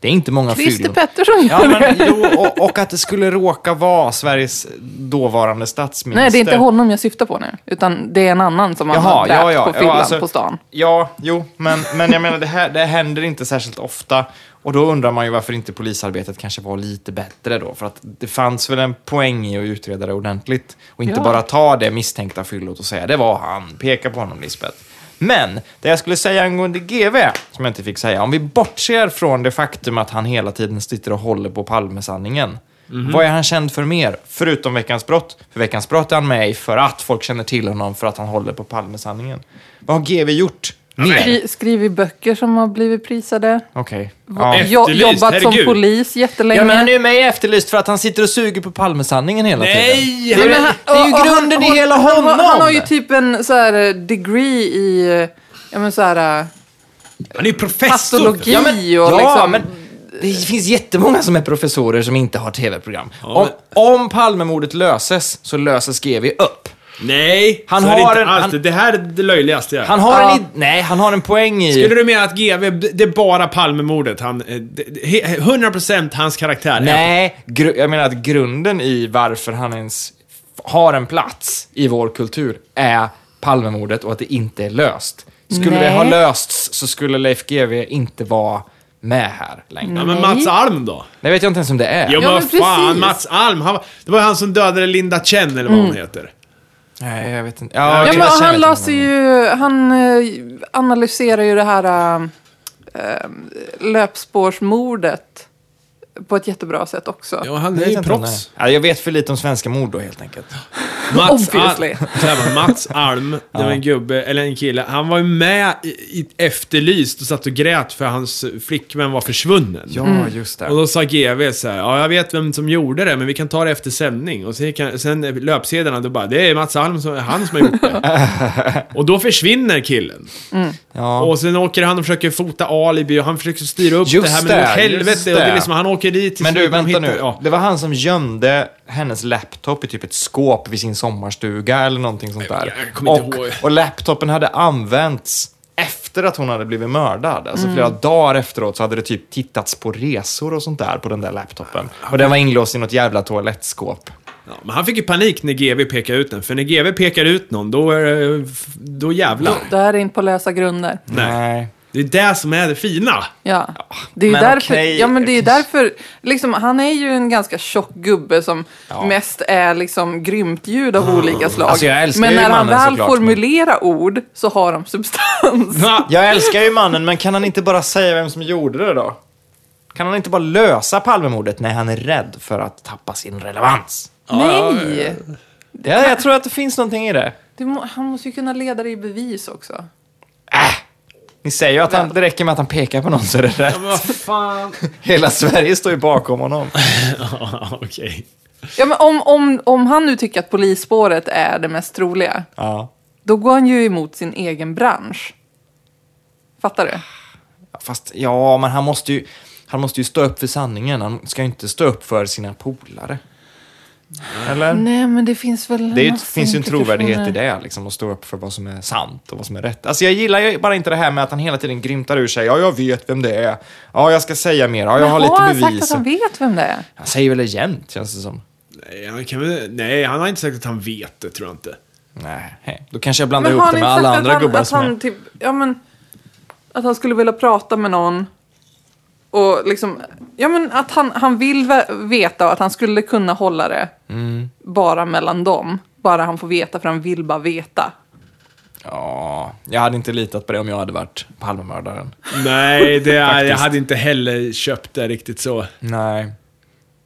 Det är inte många Christer fyllon. Pettersson Ja, gör men, det. jo, och, och att det skulle råka vara Sveriges dåvarande statsminister. Nej, det är inte honom jag syftar på nu. Utan det är en annan som man har dräpt på fyllan alltså, på stan. Ja, jo, men, men jag menar det här det händer inte särskilt ofta. Och då undrar man ju varför inte polisarbetet kanske var lite bättre då. För att det fanns väl en poäng i att utreda det ordentligt. Och inte Ja. bara ta det misstänkta fyllot och säga det var han, peka på honom Lisbeth. Men det jag skulle säga angående GV, som jag inte fick säga, om vi bortser från det faktum att han hela tiden sitter och håller på Palmesanningen. Mhm. Vad är han känd för mer? Förutom Veckans brott. För Veckans brott är han med i för att folk känner till honom för att han håller på Palmesanningen. Vad har GV gjort? Mer? Skri, skrivit böcker som har blivit prisade. Okej. Ja. Ja. Jo, Efterlyst, jobbat som herregud. polis jättelänge. ja, men han är ju med i Efterlyst för att han sitter och suger på Palmesanningen hela tiden. Nej! Det är, Men han- det är ju och- och grunden han- i hela han- honom! Han, han har ju typ en så här eh, degree i, eh, ja men så här, eh, Han är ju professor! patologi och ja, liksom. men det finns jättemånga som är professorer som inte har tv-program. om, om Palmemordet löses så löses GV upp. Nej, Han så är har det, inte en- alls. han- det här är det löjligaste jag Han har, Ja. en, id- nej, han har en poäng i... Skulle du mena att GV, det är bara Palmemordet? Han, eh, det- det- he- 100% hans karaktär är... Nej, gru- jag menar att grunden i varför han ens f- har en plats i vår kultur är Palmemordet och att det inte är löst. Skulle det Nej. ha lösts så skulle Leif GW inte vara med här längre. Ja, men Mats Alm då? Det vet jag inte ens om det är. Jo, Ja, men men fan, precis. Mats Alm. Han, var- det var ju han som dödade Linda Chen, eller vad Mm. hon heter. Nej, jag vet inte. Ja, Ja, okej, men jag känner han inte la sig honom. ju, han eh, analyserar ju det här eh, eh, löpspårsmordet på ett jättebra sätt också. Ja, han Jag vet är ju inte om det proffs. är. Ja, jag vet för lite om svenska mord då helt enkelt. Mats Obviously. Alm, så här var, Mats Alm, det var en gubbe, eller en kille, han var ju med i, i Efterlyst och satt och grät för hans flickvän var försvunnen. Ja, just det. Och då sa GV så här, ja jag vet vem som gjorde det, men vi kan ta det efter sändning. Och sen, gick han- sen löpsedlarna, då bara, det är Mats Alm, som, han som har gjort det. och då försvinner killen. Ja. Och sen åker han och försöker fota alibi och han försöker styra upp Just det här, det, men åt just helvete. Och det det. är liksom, han åker dit till Men du, slut, vänta hittar- nu. Ja. Det var han som gömde hennes laptop i typ ett skåp vid sin sommarstuga eller någonting sånt där. Jag kommer inte och, ihåg. och laptopen hade använts efter att hon hade blivit mördad. Alltså flera dagar efteråt så hade det typ tittats på resor och sånt där på den där laptopen. Och den var inlåst i något jävla toalettskåp. Ja, men han fick ju panik när GV pekade ut den, för när GV pekar ut någon, då, är det- då jävlar. Det här är inte på lösa grunder. Nej. Det är det som är det fina. Ja. Det är ju men därför, okej. ja, men det är ju därför liksom, han är ju en ganska tjock gubbe som mest är liksom grymt ljud av olika slag. Alltså, jag älskar men ju när mannen han väl såklart, men- formulerar ord så har de substans. Jag älskar ju mannen, men kan han inte bara säga vem som gjorde det då? Kan han inte bara lösa Palmemordet när han är rädd för att tappa sin relevans? Nej! Ja, jag tror att det finns någonting i det. Det må, han måste ju kunna leda det i bevis också. Ni säger ju att han, det räcker med att han pekar på någon så är det rätt. Vad fan. Hela Sverige står ju bakom honom. Ja, Okej. Ja, men om, om, om han nu tycker att polisspåret är det mest troliga, Ja. då går han ju emot sin egen bransch. Fattar du? Fast ja, men han måste ju, han måste ju stå upp för sanningen. Han ska ju inte stå upp för sina polare. Eller? Nej, men det finns väl... Det är ju, massa finns ju en trovärdighet i implikationer. det, liksom, att stå upp för vad som är sant och vad som är rätt. Alltså jag gillar ju bara inte det här med att han hela tiden grymtar ur sig. Ja, jag vet vem det är. Ja, jag ska säga mer. Ja, jag har Men har lite han sagt bevis. att han vet vem det är? Han säger väl det jämt, känns det som. Nej, han kan väl, nej, han har inte sagt att han vet det, tror jag inte. Nej, då kanske jag blandar Men har ihop han det med inte sagt alla att andra han, gubbar att som är... han typ, ja men... Att han skulle vilja prata med någon. Och liksom, ja men att han, han vill vä- veta och att han skulle kunna hålla det Mm. bara mellan dem. Bara han får veta, för han vill bara veta. Ja, jag hade inte litat på det om jag hade varit Palmemördaren. Nej, det är, jag Faktiskt. hade inte heller köpt det riktigt så. Nej.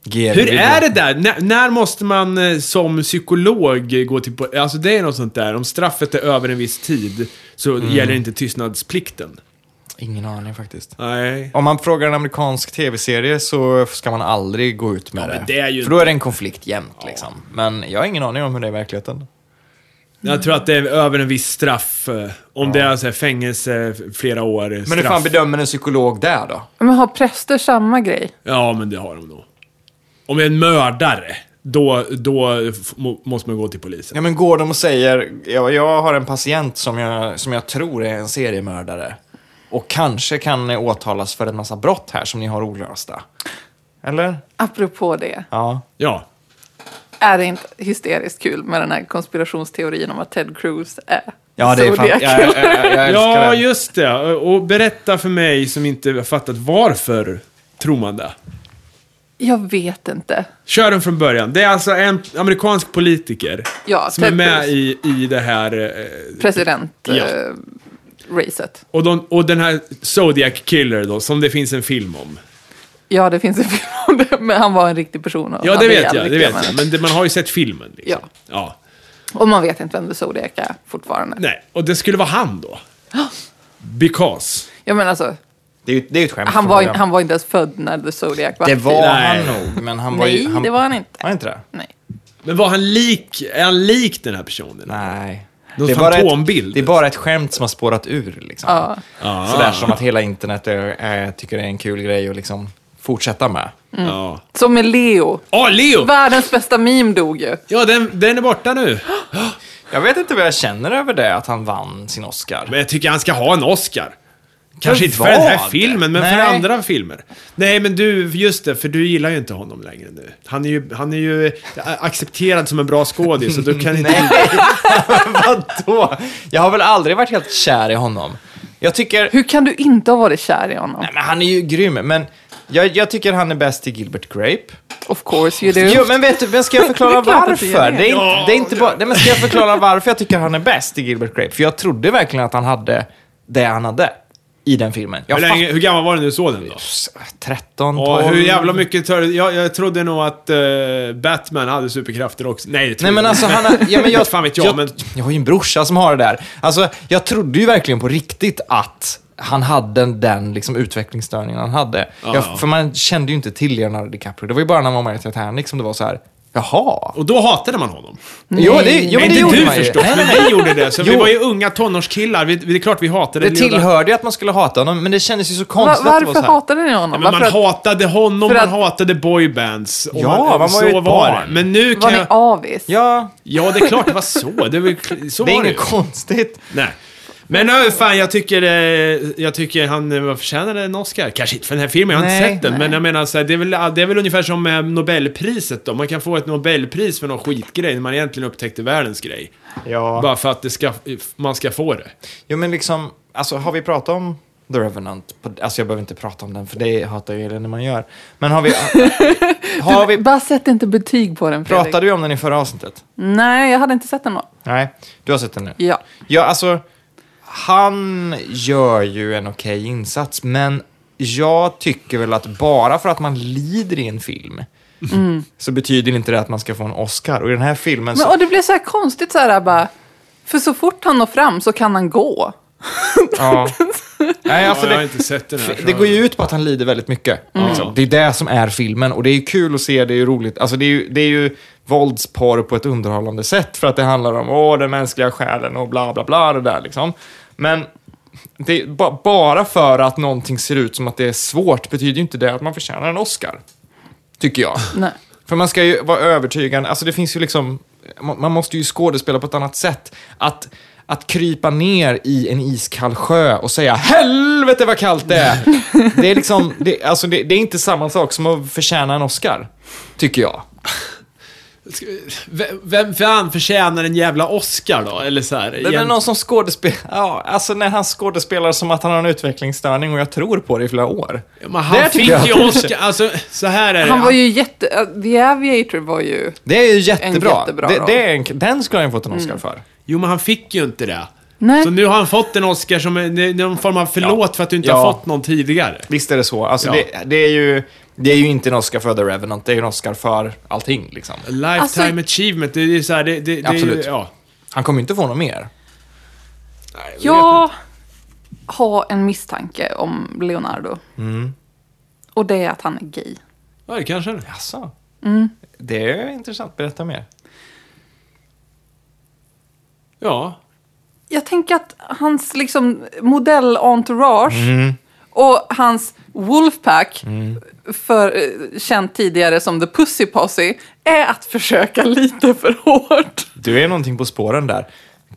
GV Hur vill är jag- det där? När, när måste man eh, som psykolog eh, gå till... po- Alltså det är något sånt där, om straffet är över en viss tid så Mm. gäller inte tystnadsplikten. Ingen aning faktiskt. Nej. Om man frågar en amerikansk tv-serie så ska man aldrig gå ut med Ja, det. men det är ju För då är det en konflikt jämt liksom. Men jag har ingen aning om hur det är i verkligheten. Jag tror att det är över en viss straff. eh, Om det är så här fängelse f- flera år. eh, Men hur straff. fan bedömer en psykolog där då? Men har präster samma grej? Ja, men det har de nog. Om det är en mördare, då, då f- må, måste man gå till polisen. Ja, men går de och säger, ja, jag har en patient som jag, som jag tror är en seriemördare och kanske kan eh, åtalas för en massa brott här som ni har olösta. Eller? Apropå det, Ja. Ja. är det inte hysteriskt kul med den här konspirationsteorin om att Ted Cruz är Ja, det är fan, jag, Zodiac? jag, jag, jag älskar Ja, den. just det. Och berätta för mig som inte har fattat varför tror man det. Jag vet inte. Kör den från början. Det är alltså en amerikansk politiker Ja, som är Ted med Cruz. i, i det här... eh, Ja. President-racet. Och, de, och den här Zodiac Killer då, som det finns en film om. Ja, det finns en film om det, men han var en riktig person. och Ja, hade det vet ihjäl jag. Det riktiga vet jag. människor. Men det, man har ju sett filmen. Liksom. Ja. ja. Och man vet inte vem The Zodiac är fortfarande. Nej, och det skulle vara han då. Because. Ja, men alltså, Det är ju det är ju ett skämt. han från var, början. han var inte ens född när The Zodiac var Det aktiv. var Nej. han nog, men han var ju... Nej, det var han inte. Var inte det? Nej. Men var han lik, är han lik den här personen? Nej. Någon det, är bara ett, fantombild. det är bara ett skämt som har spårat ur. Liksom. Ja. Sådär som att hela internet är, är, tycker det är en kul grej att liksom fortsätta med. Ja. Som med Leo. Åh, Leo! Världens bästa meme dog ju. Ja, den, den är borta nu. Jag vet inte vad jag känner över det, att han vann sin Oscar. Men jag tycker han ska ha en Oscar. Kanske inte för vad? den här filmen, men för Nej. andra filmer. Nej, men du, just det, för du gillar ju inte honom längre nu. Han är ju, han är ju accepterad som en bra skådis, så du kan inte... Vadå? Jag har väl aldrig varit helt kär i honom. Jag tycker... Hur kan du inte ha varit kär i honom? Nej, men han är ju grym, men jag, jag tycker han är bäst i Gilbert Grape. Of course you do. Jo, men vet du, men ska jag förklara Det är klart att det varför? gör det. Det är inte, det är inte bara, nej, men ska jag förklara varför jag tycker han är bäst i Gilbert Grape? För jag trodde verkligen att han hade det han hade i den filmen. Jag Hur, länge, hur gammal var du när du såg den då? fattar 13, 12... Och hur jävla mycket tar, jag, jag trodde nog att eh, Batman hade superkrafter också. Nej, det tror Nej men jag alltså inte. han har, ja, men jag, Fan vet jag, men- jag har ju en brorsa som har det där. Alltså jag trodde ju verkligen på riktigt att han hade den liksom, utvecklingsstörningen han hade. Jag, ja. för man kände ju inte till Leonardo DiCaprio. Det var ju bara när han var med i Titanic som det var så här. jaha. Och då hatade man honom. Jo, det, jo, men men det inte gjorde du man ju. förstås, Nej, nej, men vi gjorde det. Så vi Jo. var ju unga tonårskillar. Vi, det är klart vi hatade Det tillhörde ju att man skulle hata honom, men det kändes ju så Va- konstigt att det var varför så här. hatade ni honom? Men man varför hatade honom, för man att- hatade boybands. och Ja, man var ju så ett barn. det. Men nu var kan ni jag... avis? Ja, Ja, det är klart det var så. Det, var, ju- så det är var det inget ju. konstigt. Nej. Men nu, fan, jag tycker, eh, jag tycker han eh, var förtjänade en Oscar. Kanske inte för den här filmen, jag har inte Nej, sett den. Men jag menar, så här, det, är väl, det är väl ungefär som eh, Nobelpriset då. Man kan få ett Nobelpris för någon skitgrej när man egentligen upptäckte världens grej. Ja. Bara för att det ska, man ska få det. Jo men liksom, alltså har vi pratat om The Revenant? På- Alltså jag behöver inte prata om den för det hatar ju Elin när man gör. Men har vi... har vi Bara sätt inte betyg på den Fredrik. pratade du om den i förra avsnittet? Nej, jag hade inte sett den då. Nej, du har sett den nu? Ja. Ja, alltså han gör ju en okej insats men jag tycker väl att bara för att man lider i en film så betyder inte det att man ska få en Oscar. Och i den här filmen så... Mm. Men, och det blev så här konstigt så här bara. För så fort han når fram så kan han gå. Ja. Nej, alltså ja, jag har det, inte sett den här. så det jag- går ju ut på att han lider väldigt mycket. Liksom. Det är det som är filmen och det är ju kul att se, det är ju roligt. Alltså det är ju, det är ju våldsporr på ett underhållande sätt för att det handlar om åh, den mänskliga själen och bla bla bla det där liksom. Men det, är ba, bara för att någonting ser ut som att det är svårt betyder ju inte det att man förtjänar en Oscar. Tycker jag. Nej. För man ska ju vara övertygande. Alltså det finns ju liksom, man man måste ju skådespela på ett annat sätt. Att, att krypa ner i en iskall sjö och säga helvete vad kallt det är. Det är liksom, det, alltså det, det är inte samma sak som att förtjäna en Oscar. Tycker jag. Vem- Vem fan förtjänar en jävla Oscar då? Eller så här, Det är igen- någon som skådespelar, ja, alltså när han skådespelar som att han har en utvecklingsstörning och jag tror på det i flera år. Men han Där fick tycker jag- ju Oscar, alltså så här är det. Han var ju jätte... äh, The Aviator var ju... Det är ju jättebra. jättebra det, roll. det är en, den skulle han ju fått en Mm. Oscar för. Jo, men han fick ju inte det. Nej. Så nu har han fått en Oscar som är någon form av förlåt för att du inte Ja. har fått någon tidigare. Visst är det så. Alltså Ja. det, det, är ju, det är ju inte en Oscar för The Revenant, det är ju en Oscar för allting. Liksom. Lifetime Alltså- achievement, det är ju så här, det, det, det är ju, Absolut. ja. Han kommer ju inte få något mer. Jag har en misstanke om Leonardo. Mm. Och det är att han är gay. Ja, det kanske är det. Jaså? Mm. Det är intressant, berätta mer. Ja. Jag tänker att hans liksom modell-entourage och hans Wolfpack, för, eh, känt tidigare som The Pussy Posse, är att försöka lite för hårt. Du är någonting på spåren där.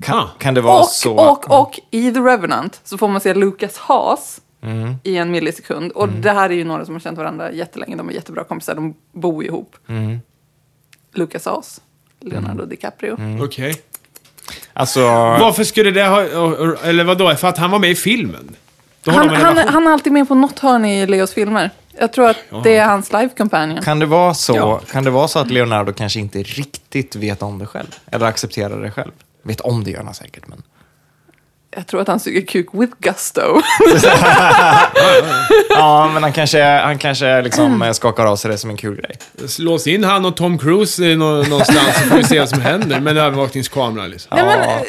Kan, Ah. kan det vara Och, så? och, och i The Revenant så får man se Lucas Haas i en millisekund. Och det här är ju några som har känt varandra jättelänge. De är jättebra kompisar, de bor ihop. Lucas Haas, Leonardo DiCaprio. Mm. Okej. Alltså, Varför skulle det ha... Eller vadå? För att han var med i filmen? Då har Han, de en han, relation. han är alltid med på något hörn i Leos filmer. Jag tror att det är hans live companion. kan, det vara så kan det vara så att Leonardo kanske inte riktigt vet om det själv? Eller accepterar det själv? Vet om det gör han säkert, men... Jag tror att han suger kuk with gusto. Ja, men han kanske, han kanske liksom Mm. eh, skakar av sig det som en kul grej. Lås in han och Tom Cruise i nå- någonstans så får vi se vad som händer med en övervakningskamera liksom. Nej, men, eh,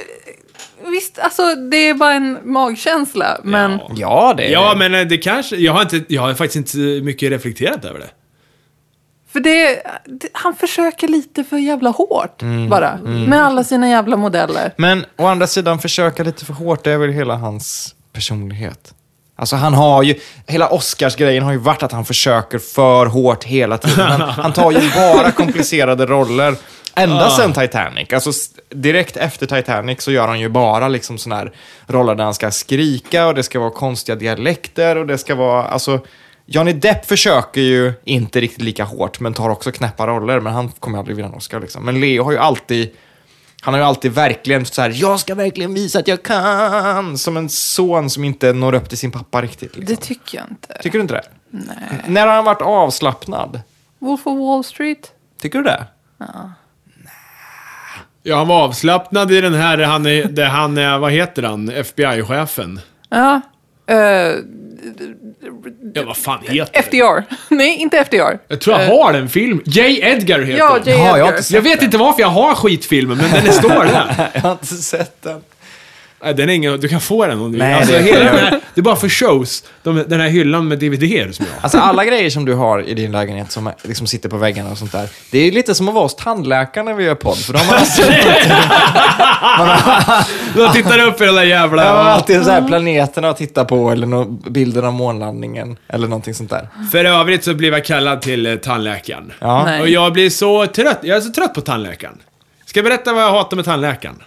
visst, alltså det är bara en magkänsla. Men Ja. Ja, det är Ja, det. men eh, det kanske... Jag har, inte, jag har faktiskt inte mycket reflekterat över det. för det, det, han försöker lite för jävla hårt Mm. bara. Med alla sina jävla modeller. Men å andra sidan, försöka lite för hårt, det är väl hela hans personlighet. Alltså han har ju, hela Oscars-grejen har ju varit att han försöker för hårt hela tiden. Han, han tar ju bara komplicerade roller. Ända sedan Titanic, alltså s- direkt efter Titanic så gör han ju bara liksom såna här roller där han ska skrika och det ska vara konstiga dialekter och det ska vara, alltså Johnny Depp försöker ju inte riktigt lika hårt men tar också knäppa roller men han kommer aldrig vinna en Oscar liksom. Men Leo har ju alltid han har ju alltid verkligen så här, jag ska verkligen visa att jag kan. Som en son som inte når upp till sin pappa riktigt. Liksom. Det tycker jag inte. Tycker du inte det? Nej. När har han varit avslappnad? Wolf of Wall Street? Tycker du det? Ja, han var avslappnad i den här, han är, där han är, vad heter han, FBI-chefen? Ja. Eh, Ja, vad fan heter det? FDR. Nej, inte FDR. Jag tror jag Eh. har den filmen. J. Edgar heter Ja, den. J. Jaha, jag har Edgar. inte sett- Jag vet inte varför jag har skitfilmen, men den är står där. Jag har inte sett den. Nej, den är ingen, du kan få den om du vill. Nej, Alltså, det- hela den här, det är bara för shows, de, den här hyllan med DVD-er som jag har. Alltså alla grejer som du har i din lägenhet som liksom sitter på väggarna och sånt där. Det är lite som att vara hos tandläkaren när vi gör podd. För de har alltid, Jag tittar upp i den där jävla... de har alltid så här planeterna att titta på eller no, bilden av månlandningen. Eller någonting sånt där. För övrigt så blev jag kallad till eh, tandläkaren. Ja. Nej. Och jag blir så trött. Jag är så trött på tandläkaren. Ska jag berätta vad jag hatar med tandläkaren?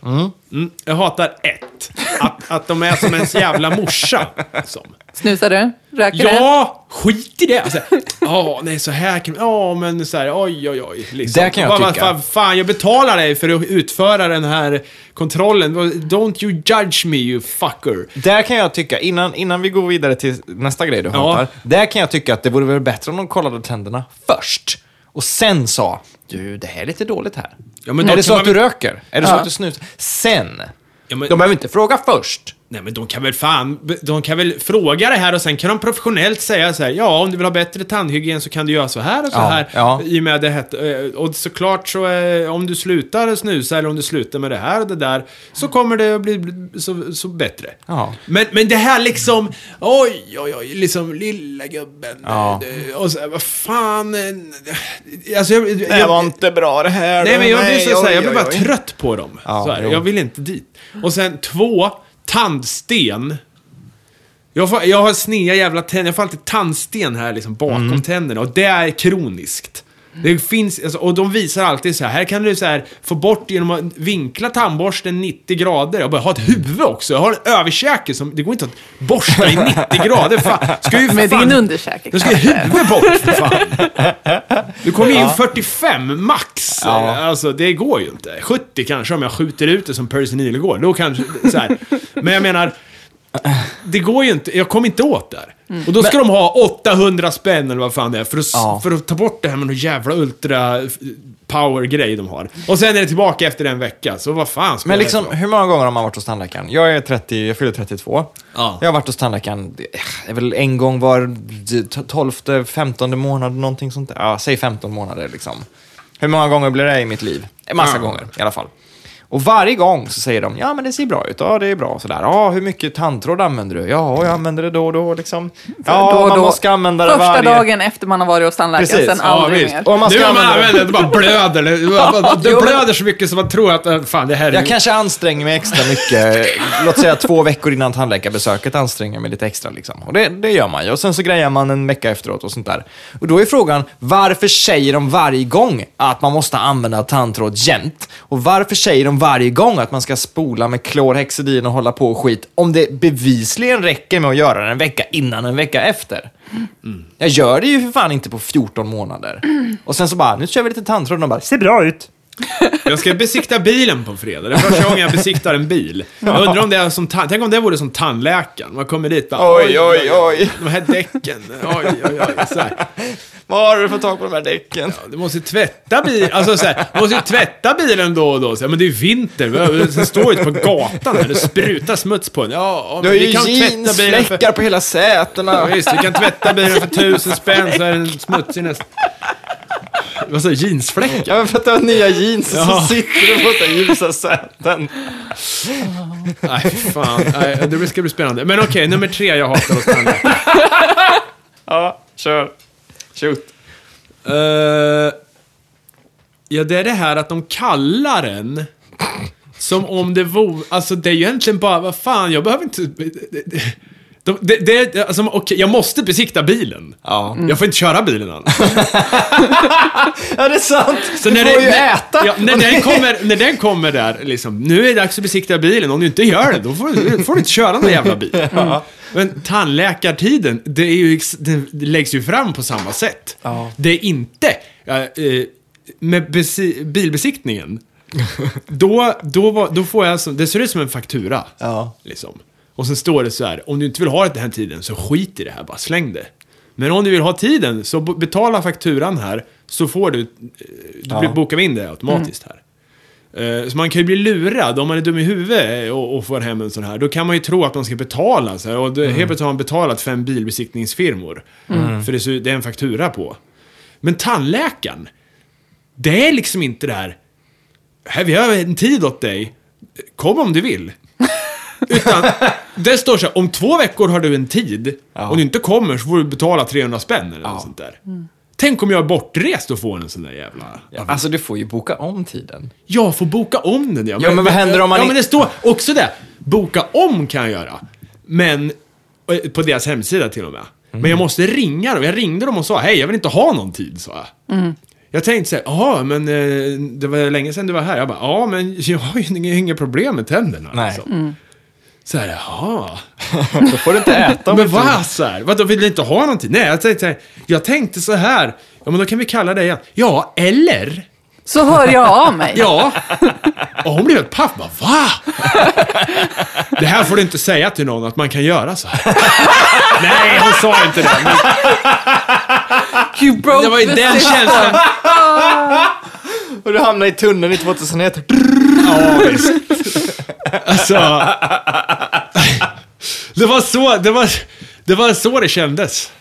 Mm, jag hatar ett. Att, att de är som ens jävla morsa. Som. Snusar du? Röker du? Ja, skit i det. Alltså, Ja, nej så här kan Ja, men så här, oj, oj, oj. Liksom. Det kan jag Vad- vad tycka. Fan, fan, jag betalar dig för att utföra den här kontrollen. Don't you judge me, you fucker. Där kan jag tycka, innan, innan vi går vidare till nästa grej du hatar. Där kan jag tycka att det vore väl bättre om de kollade tänderna först. Och sen sa, du det här är lite dåligt här. Ja, men då är det kan så att man du väl- röker? Är det så Ja. att du snusar? Sen. Ja, men- De behöver inte fråga först. Nej men de kan väl fan, de kan väl fråga det här och sen kan de professionellt säga så här, ja om du vill ha bättre tandhygien så kan du göra så här och så Ja, här. ja. I och med det här, eh, och såklart så eh, om du slutar snusa eller om du slutar med det här och det där så kommer det att bli bli så, så bättre. Ja. Men, men det här liksom, oj oj oj, liksom lilla gubben. Ja. eh, Och så, här, vad fan. eh, Alltså jag, jag, inte bra det här. Nej, men jag blir, så, så här, jag blir bara trött. trött på dem. Ja, så här, jo. jag vill inte dit. Och sen två, tandsten. Jag, får, jag har sneda jävla tänder, jag får alltid tandsten här liksom bakom tänderna och det är kroniskt. Det finns, alltså, och de visar alltid så här, här kan du så här få bort genom att vinkla tandborsten 90 grader. Jag bara, jag har ett huvud också, jag har en överkäke som, det går inte att borsta i 90 grader. Fan, ska ju för Med fan, din underkäke Då ska ju huvudet bort för fan. Du kommer in 45 max. Ja. Alltså det går ju inte. 70 kanske om jag skjuter ut det som Percy Nilegård. Då kanske, så här. Men jag menar, det går ju inte. Jag kommer inte åt där. Och då ska de ha 800 spänn eller vad fan det är för att, Ja. för att ta bort det här med någon jävla ultra power-grej de har. Och sen är det tillbaka efter en vecka, så vad fan spelar Men det liksom, för roll? hur många gånger har man varit hos tandläkaren? Jag är 30, jag fyller 32. Ja. Jag har varit hos tandläkaren, eh, det är väl en gång var d- t- 12, 15 månad, någonting sånt där. Ja, säg 15 månader liksom. Hur många gånger blir det i mitt liv? En massa Ja. gånger i alla fall. Och varje gång så säger de, ja men det ser bra ut, ja det är bra och sådär. Ja, hur mycket tandtråd använder du? Ja, jag använder det då och då liksom. Ja, Då och man då. måste använda det Första varje... dagen efter man har varit hos tandläkaren, Precis. sen Ja, aldrig visst. mer. Och om man nu ska har man använda det. använt det, det bara blöder. Det- Det Jo, men- blöder så mycket så man tror att, äh, fan det här är... Jag kanske anstränger mig extra mycket. Låt säga två veckor innan tandläkarbesöket anstränger jag mig lite extra. Liksom. Och det, det gör man ju. Och sen så grejar man en vecka efteråt och sånt där. Och då är frågan, varför säger de varje gång att man måste använda tandtråd jämt? Och varför säger de varje gång att man ska spola med klorhexidin och hålla på och skit? Om det bevisligen räcker med att göra det en vecka innan en vecka efter. Jag gör det ju för fan inte på 14 månader. Och sen så bara, nu kör vi lite tandtråd och de bara, ser bra ut. Jag ska besikta bilen på fredag. Det är första gången jag besiktar en bil. Jag undrar om det är som tan- Tänk om det vore som tandläkaren. Man kommer dit bara, Oj, oj, oj. De här däcken. Oj, oj, oj. Så här. Var har du fått tag på de här däcken? Du måste ju tvätta bilen. Alltså så här, du måste ju tvätta bilen då och då. Så här, men det är ju vinter. Vi- Den står ute på gatan här. Det sprutar smuts på den. Ja, ja, Du men har vi ju kan tvätta bilen för- jeansfläckar på hela sätena. Ja, visst, vi kan tvätta bilen för tusen spänn så är den smutsig nästan. Vad sa du? Jeansfläck? Ja, men för att du har nya jeans och så Ja. sitter du på så här ljusa säten. Nej, fan. Nej, det ska bli spännande. Men okej, nummer tre jag hatar hos tandläkaren. Ja, kör. Shoot. Eh, ja, det är det här att de kallar den som om det vore... Alltså, det är ju egentligen bara, vad fan, jag behöver inte... De, det, det, alltså, okej, jag måste besikta bilen. Ja. Jag får inte köra bilen annars. Ja, det är sant. Så du när får det- ju när- äta. Ja, när, Och den det- kommer, när den kommer där, liksom, nu är det dags att besikta bilen. Om du inte gör det, då får du, får du inte köra den där jävla bilen. Men tandläkartiden, det, är ju, ex- det det läggs ju fram på samma sätt. Ja. Det är inte... ja, eh, med besi- bilbesiktningen, då, då, var, då får jag... Som, det ser ut som en faktura. Ja. Liksom. Och sen står det så här, om du inte vill ha den här tiden så skit i det här, bara släng det. Men om du vill ha tiden så b- betala fakturan här så får du, eh, du blir- bokar vi in det automatiskt här. Eh, Så man kan ju bli lurad om man är dum i huvudet och, och får hem en sån här. Då kan man ju tro att man ska betala. Så här, och det, Helt plötsligt har man betalat fem bilbesiktningsfirmor. För det, ser- det är en faktura på. Men tandläkaren, det är liksom inte det här... Här, vi har en tid åt dig. Kom om du vill. Utan, det står så här, om två veckor har du en tid. Om du inte kommer så får du betala 300 spänn eller något sånt där. Tänk om jag är bortrest och får en sån där jävla... Ja, Alltså, du får ju boka om tiden. Jag får boka om den ja. Ja, men vad händer om man Ja, inte- men det står också det. Boka om kan jag göra. Men, eh, på deras hemsida till och med. Men Mhm. jag måste ringa dem. Jag ringde dem och sa, hej jag vill inte ha någon tid, sa jag. Mm. Jag tänkte så här, jaha, men eh, det var länge sedan du var här. Jag bara, ja men jag har ju inga- inga problem med tänderna. liksom." Nej. Mm. Så här, jaha. Då får du inte äta. om Men inte- vad så här? Vadå, vill du inte ha någonting? Nej, jag tänkte så här, jag tänkte så här. Ja, men då kan vi kalla det igen. Ja, eller? Så hör jag av mig. Ja. Och hon blev helt paff. Bara, va? Det här får du inte säga till någon att man kan göra så här. Nej, hon sa inte det. Men You broke det var ju the den system. känslan. Och du hamnar i tunneln i 2001. Ja, visst. Alltså. Det var så det, var, det var så det kändes.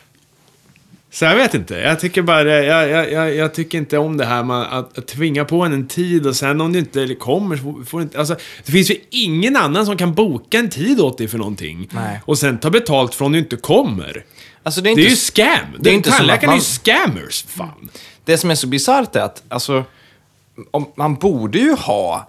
Så jag vet inte. Jag tycker bara det- jag, jag, jag, jag tycker inte om det här med att, att tvinga på en en tid och sen om du inte kommer så får- får du inte... Alltså, det finns ju ingen annan som kan boka en tid åt dig för någonting. Nej. Och sen ta betalt från om du inte kommer. Alltså, det är Det inte är ju scam. Det är inte inte som att Tandläkarna är man- ju scammers, fan. det som är så bisarrt är att alltså, om, man borde ju ha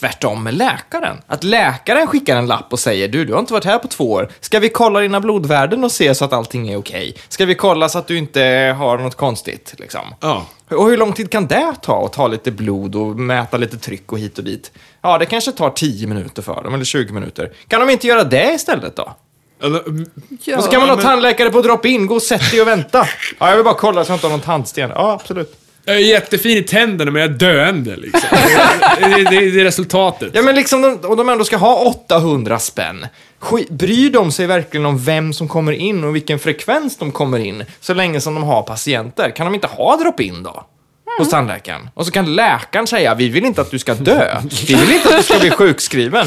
tvärtom med läkaren. Att läkaren skickar en lapp och säger du, du har inte varit här på två år. Ska vi kolla dina blodvärden och se så att allting är okej? Ska vi kolla så att du inte har något konstigt? Liksom? Ja. Och hur lång tid kan det ta att ta lite blod och mäta lite tryck och hit och dit? Ja, det kanske tar 10 minuter för dem, eller 20 minuter. Kan de inte göra det istället då? Eller, Ja. och så kan man ha men- tandläkare på drop-in, gå och sätt dig och vänta. Ja, jag vill bara kolla så jag inte har någon tandsten. Ja, absolut. Jag är jättefin i tänderna men jag är döende liksom. det, det, det, det är resultatet. Ja men liksom, de, och de ändå ska ha 800 spänn. Sk- bryr de sig verkligen om vem som kommer in och vilken frekvens de kommer in? Så länge som de har patienter. Kan de inte ha drop-in då? Hos tandläkaren. Och så kan läkaren säga, vi vill inte att du ska dö. Vi vill inte att du ska bli sjukskriven.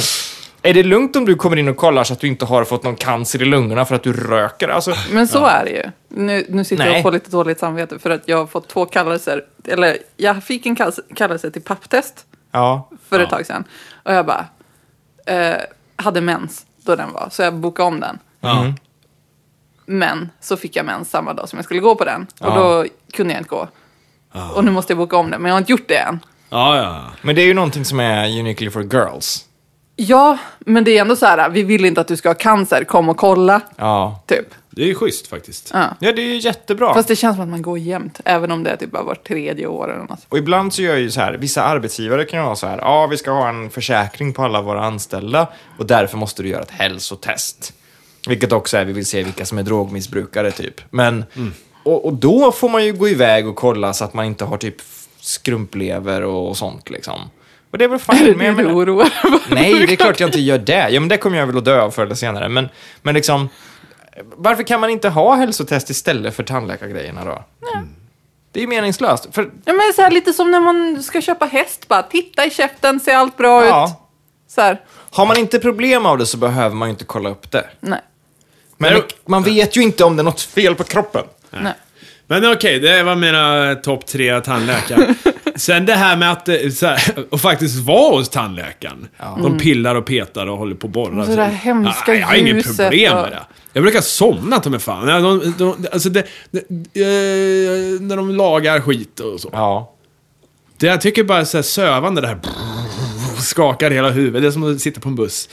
Är det lugnt om du kommer in och kollar så att du inte har fått någon cancer i lungorna för att du röker? Alltså, Men så är det ju. Nu, nu sitter jag Nej. och får lite dåligt samvete för att jag har fått två kallelser. Eller jag fick en kallelse, kallelse till papptest Ja. för ett tag sedan. Och jag bara, eh, hade mens då den var, så jag bokade om den. Ja. Men så fick jag mens samma dag som jag skulle gå på den. Och Ja. då kunde jag inte gå. Och nu måste jag boka om den, men jag har inte gjort det än. Ja, ja. Men det är ju någonting som är uniquely for girls. Ja, men det är ändå så här, vi vill inte att du ska ha cancer, kom och kolla. Ja. Typ. Det är ju schysst faktiskt. Ja, det är ju jättebra. Fast det känns som att man går jämt, även om det är typ bara vart tredje år eller något. Och ibland så gör ju så här, vissa arbetsgivare kan ju ha så här, ja vi ska ha en försäkring på alla våra anställda och därför måste du göra ett hälsotest. Vilket också är, vi vill se vilka som är drogmissbrukare typ. Men, och, och då får man ju gå iväg och kolla så att man inte har typ skrumplever och, och sånt liksom. Och det är väl fine med, du med det. oroar dig för? Nej, det är klart jag inte gör det. Ja, men det kommer jag väl att dö av förr eller senare. Men, men liksom, varför kan man inte ha hälsotest istället för tandläkargrejerna då? Det är ju meningslöst. För Ja, men så här, lite som när man ska köpa häst, bara titta i käften, ser allt bra ut? Ja. Så här, Har man inte problem av det så behöver man ju inte kolla upp det. nej. Men Nej. man vet ju inte om det är något fel på kroppen. nej. Men okej, det var mina eh, topp tre tandläkare. Sen det här med att eh, så här, och faktiskt vara hos tandläkaren. De pillar och petar och håller på och borrar. Mm. Och så det här hemska jag har inget ljuset problem och- med det. Jag brukar somna ta mig fan. Nej, De, de, alltså det, det, eh, när de lagar skit och så. Ja. Det jag tycker bara så här sövande det här. Skakar hela huvudet. Det är som att sitta på en buss.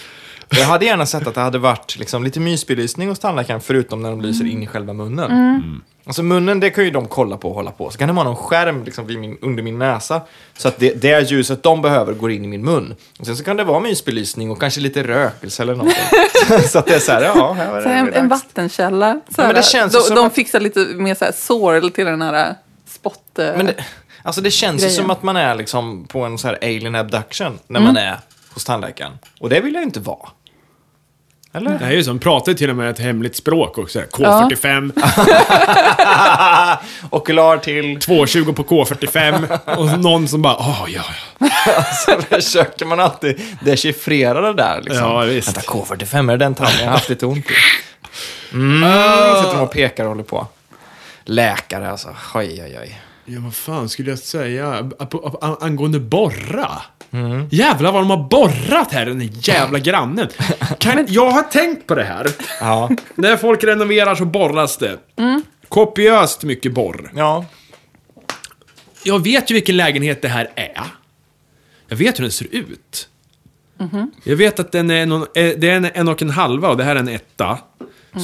Jag hade gärna sett att det hade varit liksom lite mysbelysning hos tandläkaren förutom när de lyser in i själva munnen. Alltså munnen, det kan ju de kolla på och hålla på. Så kan de ha någon skärm liksom vid min, under min näsa så att det, det ljuset de behöver går in i min mun. Och sen så kan det vara mysbelysning och kanske lite rökelse eller någonting. så att det är så här, ja, här var Så det här, en, en dags. vattenkälla. Så men här, det känns ju de, som de att- fixar lite mer så här sorl till den här äh, spott... eh, Men det, alltså det känns ju Grejen. som att man är liksom på en så här alien abduction när man är hos tandläkaren. Och det vill jag ju inte vara. Eller? Det här är ju som, pratar ju till och med ett hemligt språk också. här. K45, Ah, Okular till, 220 på K45 och någon som bara ah ja, ja. så försöker man alltid dechiffrera det där. Liksom. Ja, visst. Vänta, K45, är det den tanden jag har haft lite ont i? Mm, sitter de och pekar och håller på. Läkare alltså, oj oj oj. Ja, vad fan skulle jag säga Ap- ap- an- angående borra? Jävlar vad de har borrat här, den där jävla grannen. Kan, jag har tänkt på det här. Ja, När folk renoverar så borras det. Kopiöst mycket borr. ja. Jag vet ju vilken lägenhet det här är. Jag vet hur den ser ut. Jag vet att den är, någon, eh, det är en, en och en halva och det här är en etta.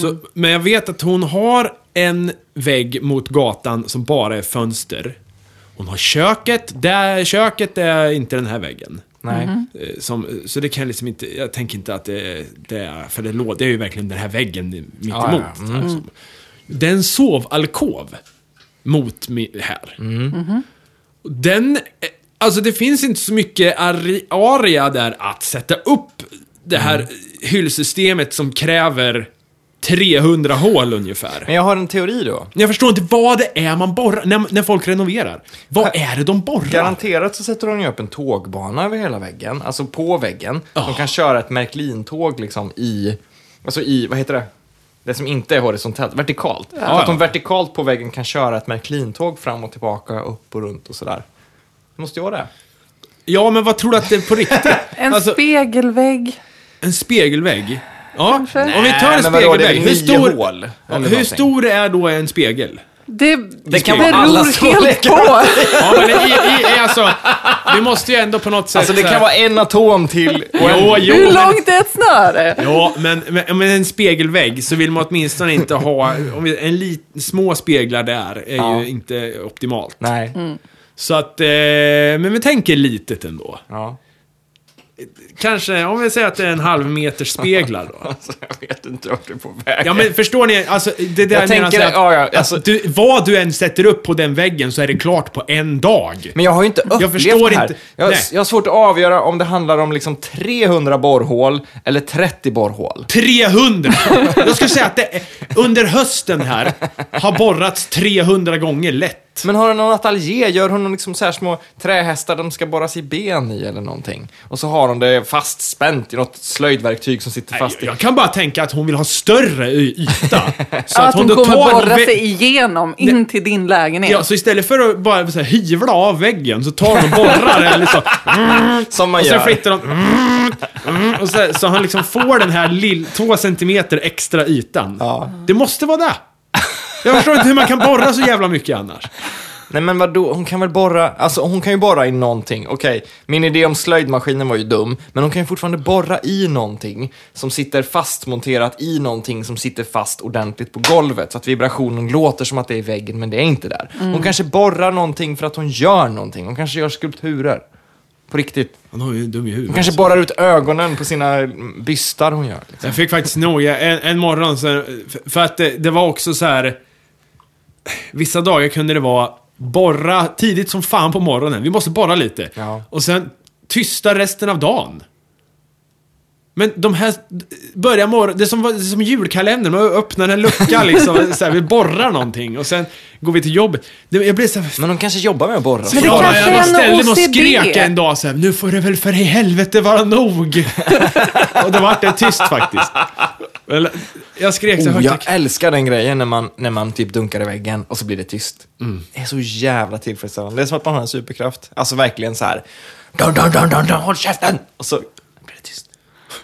Så, men jag vet att hon har en vägg mot gatan som bara är fönster. Hon har köket, där, köket är inte den här väggen. Nej. Eh, Som, eh, så det kan jag liksom inte, jag tänker inte att det, det är, för det, lå- det är ju verkligen den här väggen mitt emot. Ja, Mm. ja, ja. här, som- Det är en sovalkov mot mi- här. Mm. Den, eh, alltså det finns inte så mycket ari- aria där att sätta upp det här Mm. hyllsystemet som kräver 300 hål ungefär. Men jag har en teori då. Jag förstår inte vad det är man borrar, när, när folk renoverar. Vad är det de borrar? Garanterat så sätter de ju upp en tågbana över hela väggen, alltså på väggen. De Ja. kan köra ett Märklintåg liksom i, alltså i, vad heter det? Det som inte är horisontellt, vertikalt. Så att de ja. vertikalt på väggen kan köra ett Märklintåg fram och tillbaka, upp och runt och sådär. Det måste ju vara det. Ja, men vad tror du att det är på riktigt? en alltså- spegelvägg. En spegelvägg? Ja, Kanske. om vi tar en Nej, men vadå, det är väl spegelvägg. Hur nio stor, hål, Ja, eller hur någonting. stor är då en spegel? Det, kan vara alla beror helt storlekar. på. Ja, men i, i, i, alltså, vi måste ju ändå på något sätt... Alltså det så kan här- vara en atom till och en... Jo, jo, Hur men- långt är ett snöre? Ja, men, men, men en spegelvägg så vill man åtminstone inte ha... Om vi, en lit, små speglar där är Ja. ju inte optimalt. Nej. Så att... Eh, men vi tänker litet ändå. Ja. Kanske, om vi säger att det är en halv meter speglar då. Alltså, jag vet inte vart du är på väg. Ja men förstår ni? Alltså, det där Jag menar tänker- så att, ja, ja, alltså- att du, vad du än sätter upp på den väggen så är det klart på en dag. Men jag har ju inte upplevt förstår det här. inte. Jag, har- Nej. jag har svårt att avgöra om det handlar om liksom 300 borrhål eller 30 borrhål. 300! Jag skulle säga att det, under hösten här har borrats 300 gånger lätt. lätt. Men har hon någon ateljé? Gör hon liksom så här små trähästar de ska borras i ben i eller någonting? Och så har hon det fastspänt i något slöjdverktyg som sitter fast i... Jag kan bara tänka att hon vill ha större y- yta. Så att hon då kommer tar borra vä- sig igenom in till din lägenhet. Ja, så istället för att bara så här, hyvla av väggen så tar hon och borrar den liksom. Som man Och gör. sen flyttar de... Mm, Och så, så han liksom får den här lill, två centimeter extra ytan. Ja. Det måste vara det. Jag förstår inte hur man kan borra så jävla mycket annars. Nej men vadå, hon kan väl borra, alltså hon kan ju borra i någonting. Okej, min idé om slöjdmaskinen var ju dum, men hon kan ju fortfarande borra i någonting som sitter fastmonterat i någonting som sitter fast ordentligt på golvet så att vibrationen låter som att det är i väggen men det är inte där. Hon kanske borrar någonting för att hon gör någonting, hon kanske gör skulpturer. På riktigt. Han har ju dum i huvudet. Hon kanske borrar ut ögonen på sina mm, bystar hon gör. Liksom. Jag fick faktiskt nog jag- en, en morgon, så, för- för att det, det var också så här. Vissa dagar kunde det vara borra tidigt som fan på morgonen. Vi måste borra lite. Ja. Och sen tysta resten av dagen. Men de här, börja morgon, det är som, det är som julkalendern, man öppnar en lucka liksom. så här, vi borrar någonting och sen går vi till jobbet. Det- Jag blev så här, Men hon kanske jobbar med att borra. Men det Ja, kanske är Alltså, jag en ställde mig och OCD. skrek en dag så här, nu får det väl för i helvete vara nog. och då vart det tyst faktiskt. Eller, Jag skrek så Oh, högt jag jag kan. älskar den grejen när man, när man typ dunkar i väggen och så blir det tyst. Det är så jävla tillfredsställande. Det är som att man har en superkraft. Alltså verkligen så här. Dun, dun, dun, dun, dun, håll käften! Och så blir det tyst.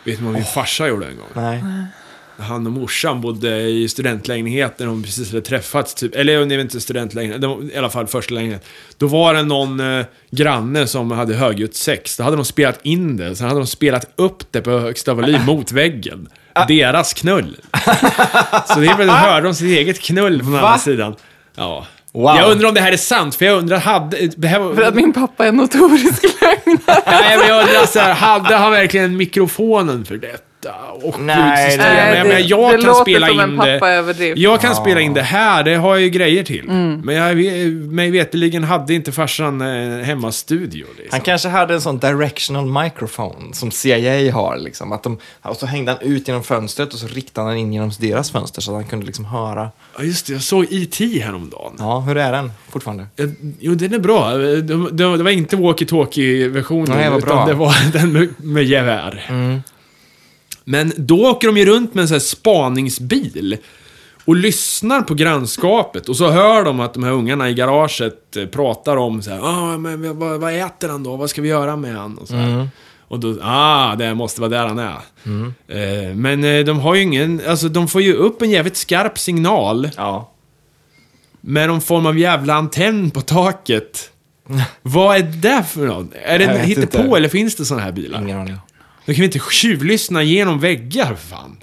Vet du vad min farsa gjorde en gång? Nej. Han och morsan bodde i studentlägenhet när de precis hade träffats. Typ. Eller nej, inte studentlägenhet, det var i alla fall första lägenheten. Då var det någon eh, granne som hade högljutt sex. Då hade de spelat in det, sen hade de spelat upp det på högsta volym mot väggen. Deras knull. Så det är väl, hörde de sitt eget knull från andra sidan. Ja. Wow. Jag undrar om det här är sant, för jag undrar, hade... Det här var, För att min pappa är en notorisk lögnare. nej, men jag undrar så här, hade han verkligen mikrofonen för detta? Och Nej, ljudsystemet? det- Jag menar, jag det kan låter spela som in en pappaöverdrift. det. Jag kan spela in det här, det har jag ju grejer till. Mm. Men jag, eh, mig veterligen hade inte farsan eh, hemmastudio. Liksom. Han kanske hade en sån directional microphone som CIA har. Liksom. Att de, och så hängde han ut genom fönstret och så riktade han in genom deras fönster så att han kunde liksom höra. Ja, just det. Jag såg E.T. häromdagen. Ja, hur är den fortfarande? Eh, Jo, den är bra. Eh, Det, det, det var inte walkie-talkie-versionen, Nej, vad bra. Mm. utan det var den med, med gevär. Men då åker de ju runt med en sån här spaningsbil och lyssnar på grannskapet och så hör de att de här ungarna i garaget eh, pratar om så här, ah, men vi- vad, vad äter han då? Vad ska vi göra med han? Och så här. Mm. Och då, ah, det måste vara där han är. Eh, men eh, de har ju ingen, alltså de får ju upp en jävligt skarp signal Ja. med någon form av jävla antenn på taket. Vad är det för något? Är Jag det vet hittepå inte. på eller finns det sådana här bilar? Ingen aning. Då kan vi inte tjuvlyssna genom väggar för fan.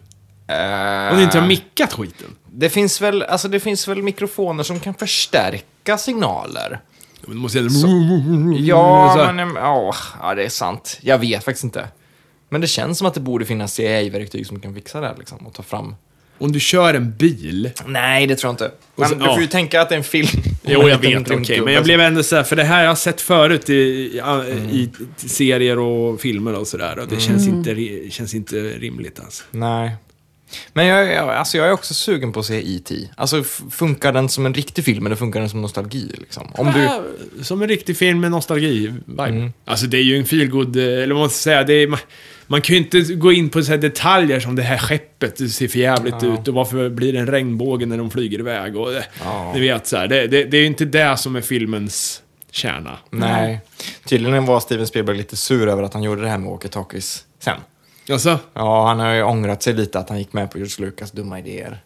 Eh, Om du inte har mickat skiten. det, finns väl, alltså, det finns väl mikrofoner som kan förstärka signaler? Men då måste jag... Så. Ja, så här. men em, ja, ja, det är sant. Jag vet faktiskt inte. Men det känns som att det borde finnas CIA-verktyg som kan fixa det här liksom och ta fram. Om du kör en bil. Nej, det tror jag inte. Men så- du får ju ja. tänka att det är en film. Jo, Om en jag liten vet. Okej, rymdgubbe men jag blev ändå så här, för det här jag har sett förut i, i, i, i serier och filmer och sådär. Och det känns, inte, ri- känns inte rimligt alltså. Nej. Men jag, jag, alltså jag är också sugen på att se E.T. Alltså, f- funkar den som en riktig film eller funkar den som nostalgi? Liksom? Om du... Ja, Som en riktig film med nostalgi-vibe. Mm. Alltså det är ju en feelgood, eh, eller vad man ska säga, det är, man, man kan ju inte gå in på så här detaljer som det här skeppet, det ser för jävligt ut och varför blir det en regnbåge när de flyger iväg och eh, Ja. ni vet så här, det, det, det är ju inte det som är filmens kärna. Nej. Tydligen var Steven Spielberg lite sur över att han gjorde det här med walkie-talkies sen. Alltså, Ja, han har ju ångrat sig lite att han gick med på George Lucas dumma idéer.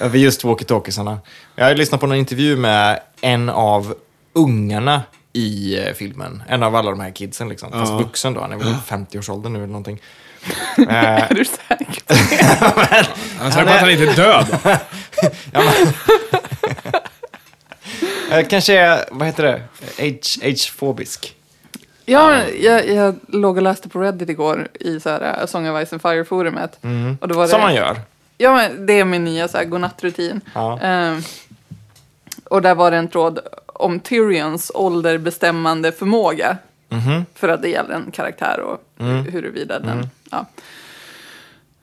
Över just walkie-talkiesarna. Jag har lyssnat på någon intervju med en av ungarna i eh, filmen. En av alla de här kidsen liksom. Fast vuxen då, han är väl i 50-årsåldern nu eller någonting. Är du säker? han säger bara att han inte är död. Eh, kanske är, vad heter det? Age- Age-fobisk. Ja, jag, jag låg och läste på Reddit igår i så här, eh, Song of Ice and Fire-forumet. Och då var det, Som man gör. Ja, men det är min nya så här, godnattrutin. Ja. Ehm, och där var det en tråd om Tyrions ålderbestämmande förmåga. För att det gäller en karaktär och huruvida den... Ja.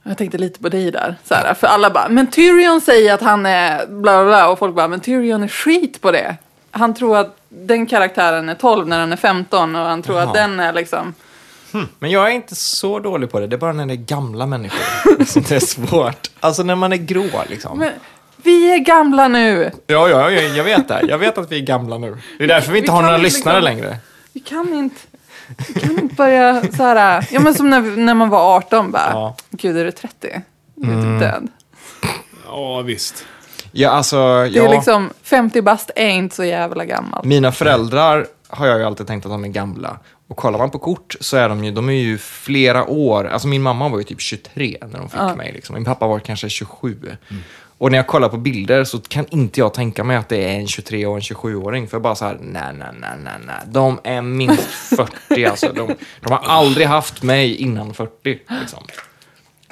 Jag tänkte lite på dig där. Så här, för alla bara, men Tyrion säger att han är bla bla bla. Och folk bara, men Tyrion är skit på det. han tror att den karaktären är 12 när den är 15 och han tror att den är liksom... Men jag är inte så dålig på det. Det är bara när det är gamla människor som det är svårt. Alltså när man är grå liksom. Men, vi är gamla nu! Ja, ja, ja, jag vet det. Jag vet att vi är gamla nu. Det är därför vi inte Vi har kan några ju liksom- lyssnare längre. Vi kan inte... Vi kan inte börja så här... Ja, men som när, när man var 18 bara. Ja. Gud, är du 30? Du är typ död. Ja, visst. Ja, alltså, Det är ja, liksom, 50 bast är inte så jävla gammalt. Mina föräldrar har jag ju alltid tänkt att de är gamla. Och kollar man på kort så är de ju, de är ju flera år. Alltså min mamma var ju typ 23 när de fick mig. Liksom. Min pappa var kanske 27. Och när jag kollar på bilder så kan inte jag tänka mig att det är en 23 och en 27-åring. För jag bara så här, nej, nej, nej, nej, nej. De är minst 40 alltså. De, de har aldrig haft mig innan 40. Liksom.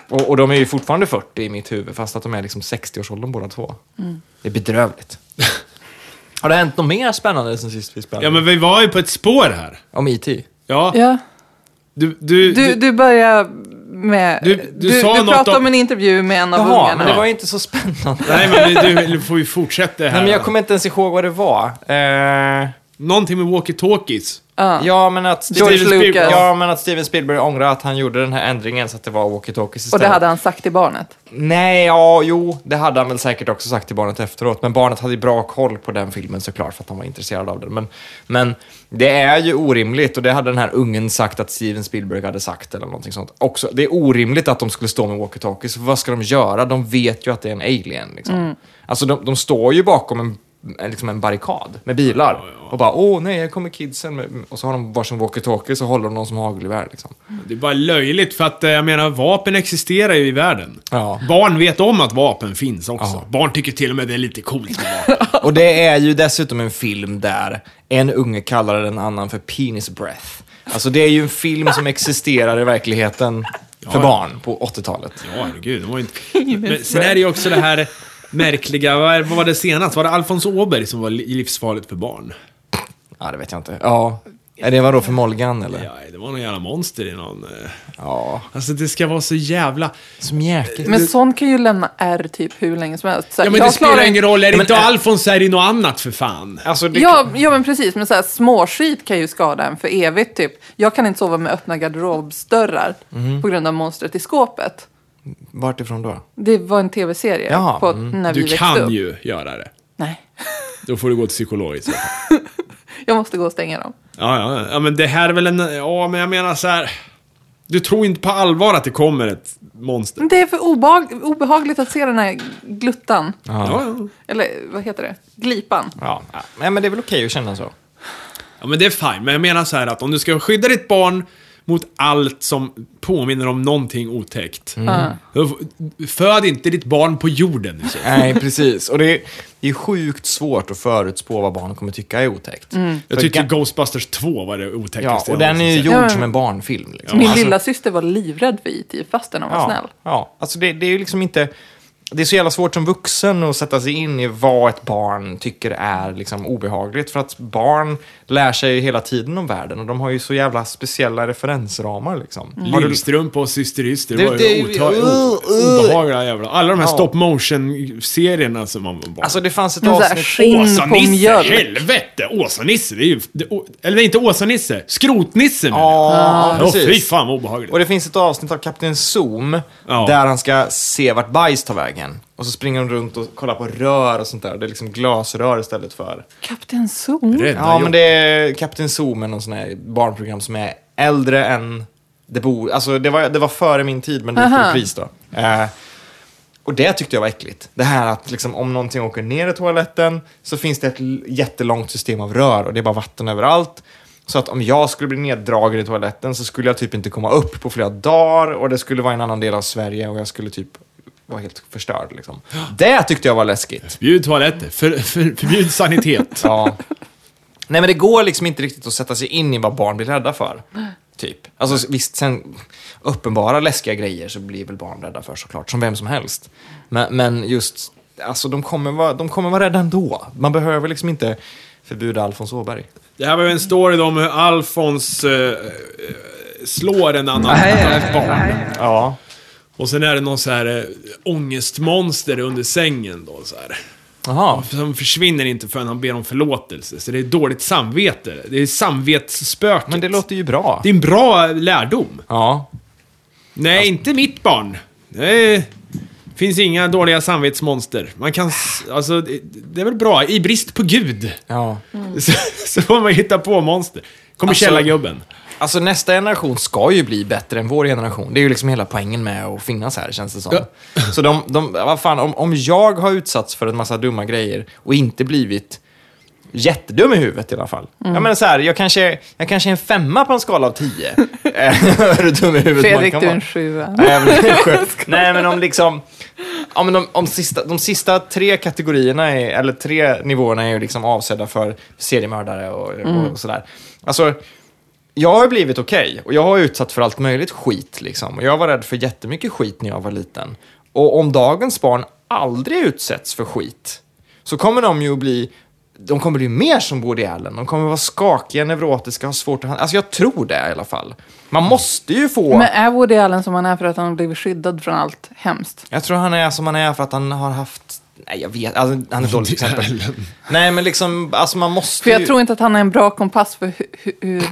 Och, och de är ju fortfarande 40 i mitt huvud, fast att de är liksom 60-årsåldern båda två. Mm. Det är bedrövligt. Har det hänt något mer spännande sen sist vi spelade? Ja, men vi var ju på ett spår här. Om E IT? Ja, Ja. du, du, Du, du, du börjar med... Du- Du, du du, sa något pratade om- om... en intervju med en av Jaha, ungarna. men det var ju inte så spännande. Nej, men du får ju fortsätta här. Nej, men jag kommer inte ens ihåg vad det var. Eh, Någonting med walkie-talkies. ja, men att George Lucas. ja, men att Steven Spielberg ångrar att han gjorde den här ändringen så att det var walkie-talkies istället. Och det hade han sagt till barnet. Nej, ja, jo, det hade han väl säkert också sagt till barnet efteråt. Men barnet hade ju bra koll på den filmen såklart för att han var intresserad av den. Men, men det är ju orimligt och det hade den här ungen sagt att Steven Spielberg hade sagt eller någonting sånt. Också, det är orimligt att de skulle stå med walkie-talkies. för Vad ska de göra? De vet ju att det är en alien. Liksom. Alltså de, de står ju bakom en, en- liksom en barrikad med bilar och bara åh nej, här kommer kidsen. med-" Och så har de varsin walkie-talkie så håller de någon som hagelgevär. Liksom. Det är bara löjligt för att eh, jag menar, vapen existerar ju i världen. Ja. Barn vet om att vapen finns också. Ja. Barn tycker till och med det är lite coolt med vapen. Och det är ju dessutom en film där en unge kallar en annan för penis breath. Alltså det är ju en film som existerar i verkligheten för barn på 80-talet. Ja, herregud. Det var ju inte... Men sen är det ju också det här märkliga, vad är- vad var det senast? Var det Alfons Åberg som var li- livsfarligt för barn? Ja, det vet jag inte. Ja. Är det vad då för Molgan eller? Ja, det var någon jävla monster i någon... eh, Ja. Alltså det ska vara så jävla... Som jäkligt. Men sånt kan ju lämna R typ hur länge som helst. Så här, Ja men det jag spelar klarar ingen roll, är det Men- inte Alfons är det något annat för fan. Alltså, det... Ja, ja, men precis. Men så här, småskit kan ju skada en för evigt. Typ. Jag kan inte sova med öppna garderobsdörrar på grund av monstret i skåpet. Vart ifrån då? Det var en tv-serie Jaha, på, när vi Du växte kan upp. ju göra det. Nej, Då får du gå till psykolog i så fall. jag måste gå och stänga dem. Ja, ja, ja, men det här är väl en... Ja, men jag menar så här. Du tror inte på allvar att det kommer ett monster? Mm. Men Det är för obehag- obehagligt att se den här gluttan. Ja, ja. Eller vad heter det? Glipan. Ja. Nej, men det är väl okej att känna så. ja men det är fine. Men jag menar så här att om du ska skydda ditt barn mot allt som påminner om någonting otäckt. Mm. då f- Föd inte ditt barn på jorden. i så fall. Nej, precis. Och det är, det är sjukt svårt att förutspå vad barn kommer tycka är otäckt. Jag För tyckte ga- Ghostbusters 2 var det Ja, otäckaste och jag den är någonsin ju sett. gjord Ja, men- som en barnfilm. Liksom. Min Alltså- lilla syster var livrädd för IT fastän han var snäll. Ja, alltså det, det är ju liksom inte... Det är så jävla svårt som vuxen att sätta sig in i vad ett barn tycker är liksom obehagligt. För att barn lär sig ju hela tiden om världen och de har ju så jävla speciella referensramar. Liksom. Mm. Har du- Lillstrumpa och Syster Yster Det- var det- ju ota- uh, o- uh. obehagliga jävla... Alla de här Ja. stop motion-serierna som man bara... Alltså det fanns ett Men så här, avsnitt... skinn på Åsa-Nisse, mjölk. helvete! Åsa-Nisse, det är ju... Det, o- eller nej, inte Åsa-Nisse, Skrotnisse menar jag. Ja, Ja, precis. fy fan vad obehagligt. Och det finns ett avsnitt av Kapten Zoom Ja. där han ska se vart bajs tar vägen. Och så springer de runt och kollar på rör och sånt där. Det är liksom glasrör istället för... Kapten Zoom. Rädda Ja, jobb. men det är Kapten Zoom är någon sån här barnprogram som är äldre än det bor... Alltså, det var, det var före min tid, men det gick i Aha. repris då. Eh, och det tyckte jag var äckligt. Det här att liksom, om någonting åker ner i toaletten så finns det ett l- jättelångt system av rör och det är bara vatten överallt. Så att om jag skulle bli neddragen i toaletten så skulle jag typ inte komma upp på flera dagar och det skulle vara i en annan del av Sverige och jag skulle typ vara helt förstörd. Liksom. Det tyckte jag var läskigt. Förbjud toaletter, för, för, förbjud sanitet. Ja. Nej, men det går liksom inte riktigt att sätta sig in i vad barn blir rädda för. Typ. Alltså visst, sen uppenbara läskiga grejer så blir väl barn rädda för såklart, som vem som helst. Men, men just, alltså de kommer, vara, de kommer vara rädda ändå. Man behöver liksom inte förbjuda Alfons Åberg. Det här var ju en story om hur Alfons eh, eh, slår en annan annat barn. Ja. Och sen är det någon så här eh, ångestmonster under sängen då så här. Jaha. Som försvinner inte förrän han ber om förlåtelse. Så det är dåligt samvete. Det är samvetsspöket. Men det låter ju bra. Det är en bra lärdom. Ja. Nej, inte mitt barn. Det är- finns inga dåliga samvetsmonster. Man kan... s- Alltså, det, det är väl bra. I brist på Gud ja. så, så får man hitta på monster. Kommer Alltså- källargubben. Alltså nästa generation ska ju bli bättre än vår generation. Det är ju liksom hela poängen med att finnas här, känns det som. Så de, de vad fan, om, om jag har utsatts för en massa dumma grejer och inte blivit jättedum i huvudet i alla fall. Mm. Ja, men så här, jag, kanske, jag kanske är en femma på en skala av tio. Eh, Är du dum i huvudet Fredrik, man kan du är vara? en sjua. Nej, men, skönt. Nej, men om liksom... Ja, men de, om sista, de sista tre kategorierna, är, eller tre nivåerna, är ju liksom avsedda för seriemördare och, och sådär. Alltså, jag har blivit okej och jag har utsatt för allt möjligt skit. Liksom. Och jag var rädd för jättemycket skit när jag var liten. Och om dagens barn aldrig utsätts för skit så kommer de ju att bli de kommer bli mer som Woody Allen. De kommer vara skakiga, neurotiska, ha svårt att... hand- Alltså jag tror det i alla fall. Man måste ju få... Men är Woody Allen som han är för att han har blivit skyddad från allt hemskt? Jag tror han är som han är för att han har haft... Nej, jag vet. Alltså, han är ett dåligt exempel. Nej, men liksom, alltså man måste För jag ju- tror inte att han är en bra kompass för hur... Hu- hur-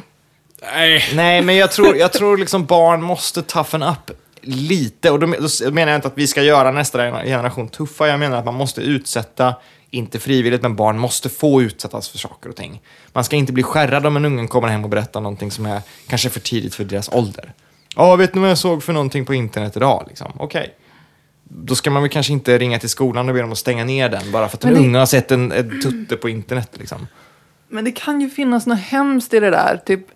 Nej. Nej, men jag tror, jag tror liksom barn måste toughen up lite. Och då, men- då menar jag inte att vi ska göra nästa generation tuffa. Jag menar att man måste utsätta, inte frivilligt, men barn måste få utsättas för saker och ting. Man ska inte bli skärrad om en ungen kommer hem och berättar någonting som är kanske för tidigt för deras ålder. Ja, vet ni vad jag såg för någonting på internet idag? Liksom. Okej. Då ska man väl kanske inte ringa till skolan och be dem att stänga ner den bara för att en Men det- unge har sett en, en tutte på internet. Liksom. Men det kan ju finnas något hemskt i det där. Typ,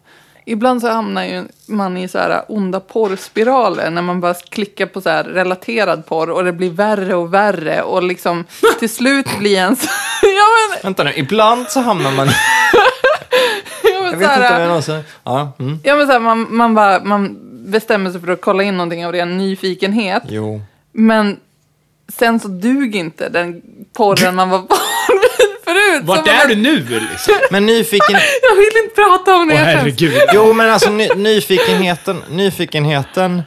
ibland så hamnar ju man i så här onda porrspiraler när man bara klickar på så här relaterad porr och det blir värre och värre och liksom till slut blir ens... ja men, Vänta nu, ibland så hamnar man... ja, men Jag så vet här, inte om jag någonsin... Ja, mm. ja, men så här, man, man, bara, man bestämmer sig för att kolla in någonting av ren nyfikenhet. Jo. Men sen så dug inte den porren man var van vid förut. Så Vart man är bara, du nu liksom? Men nyfiken... Jag vill inte prata om det. Åh jag skäms. herregud. Jo, men alltså ny, nyfikenheten, nyfikenheten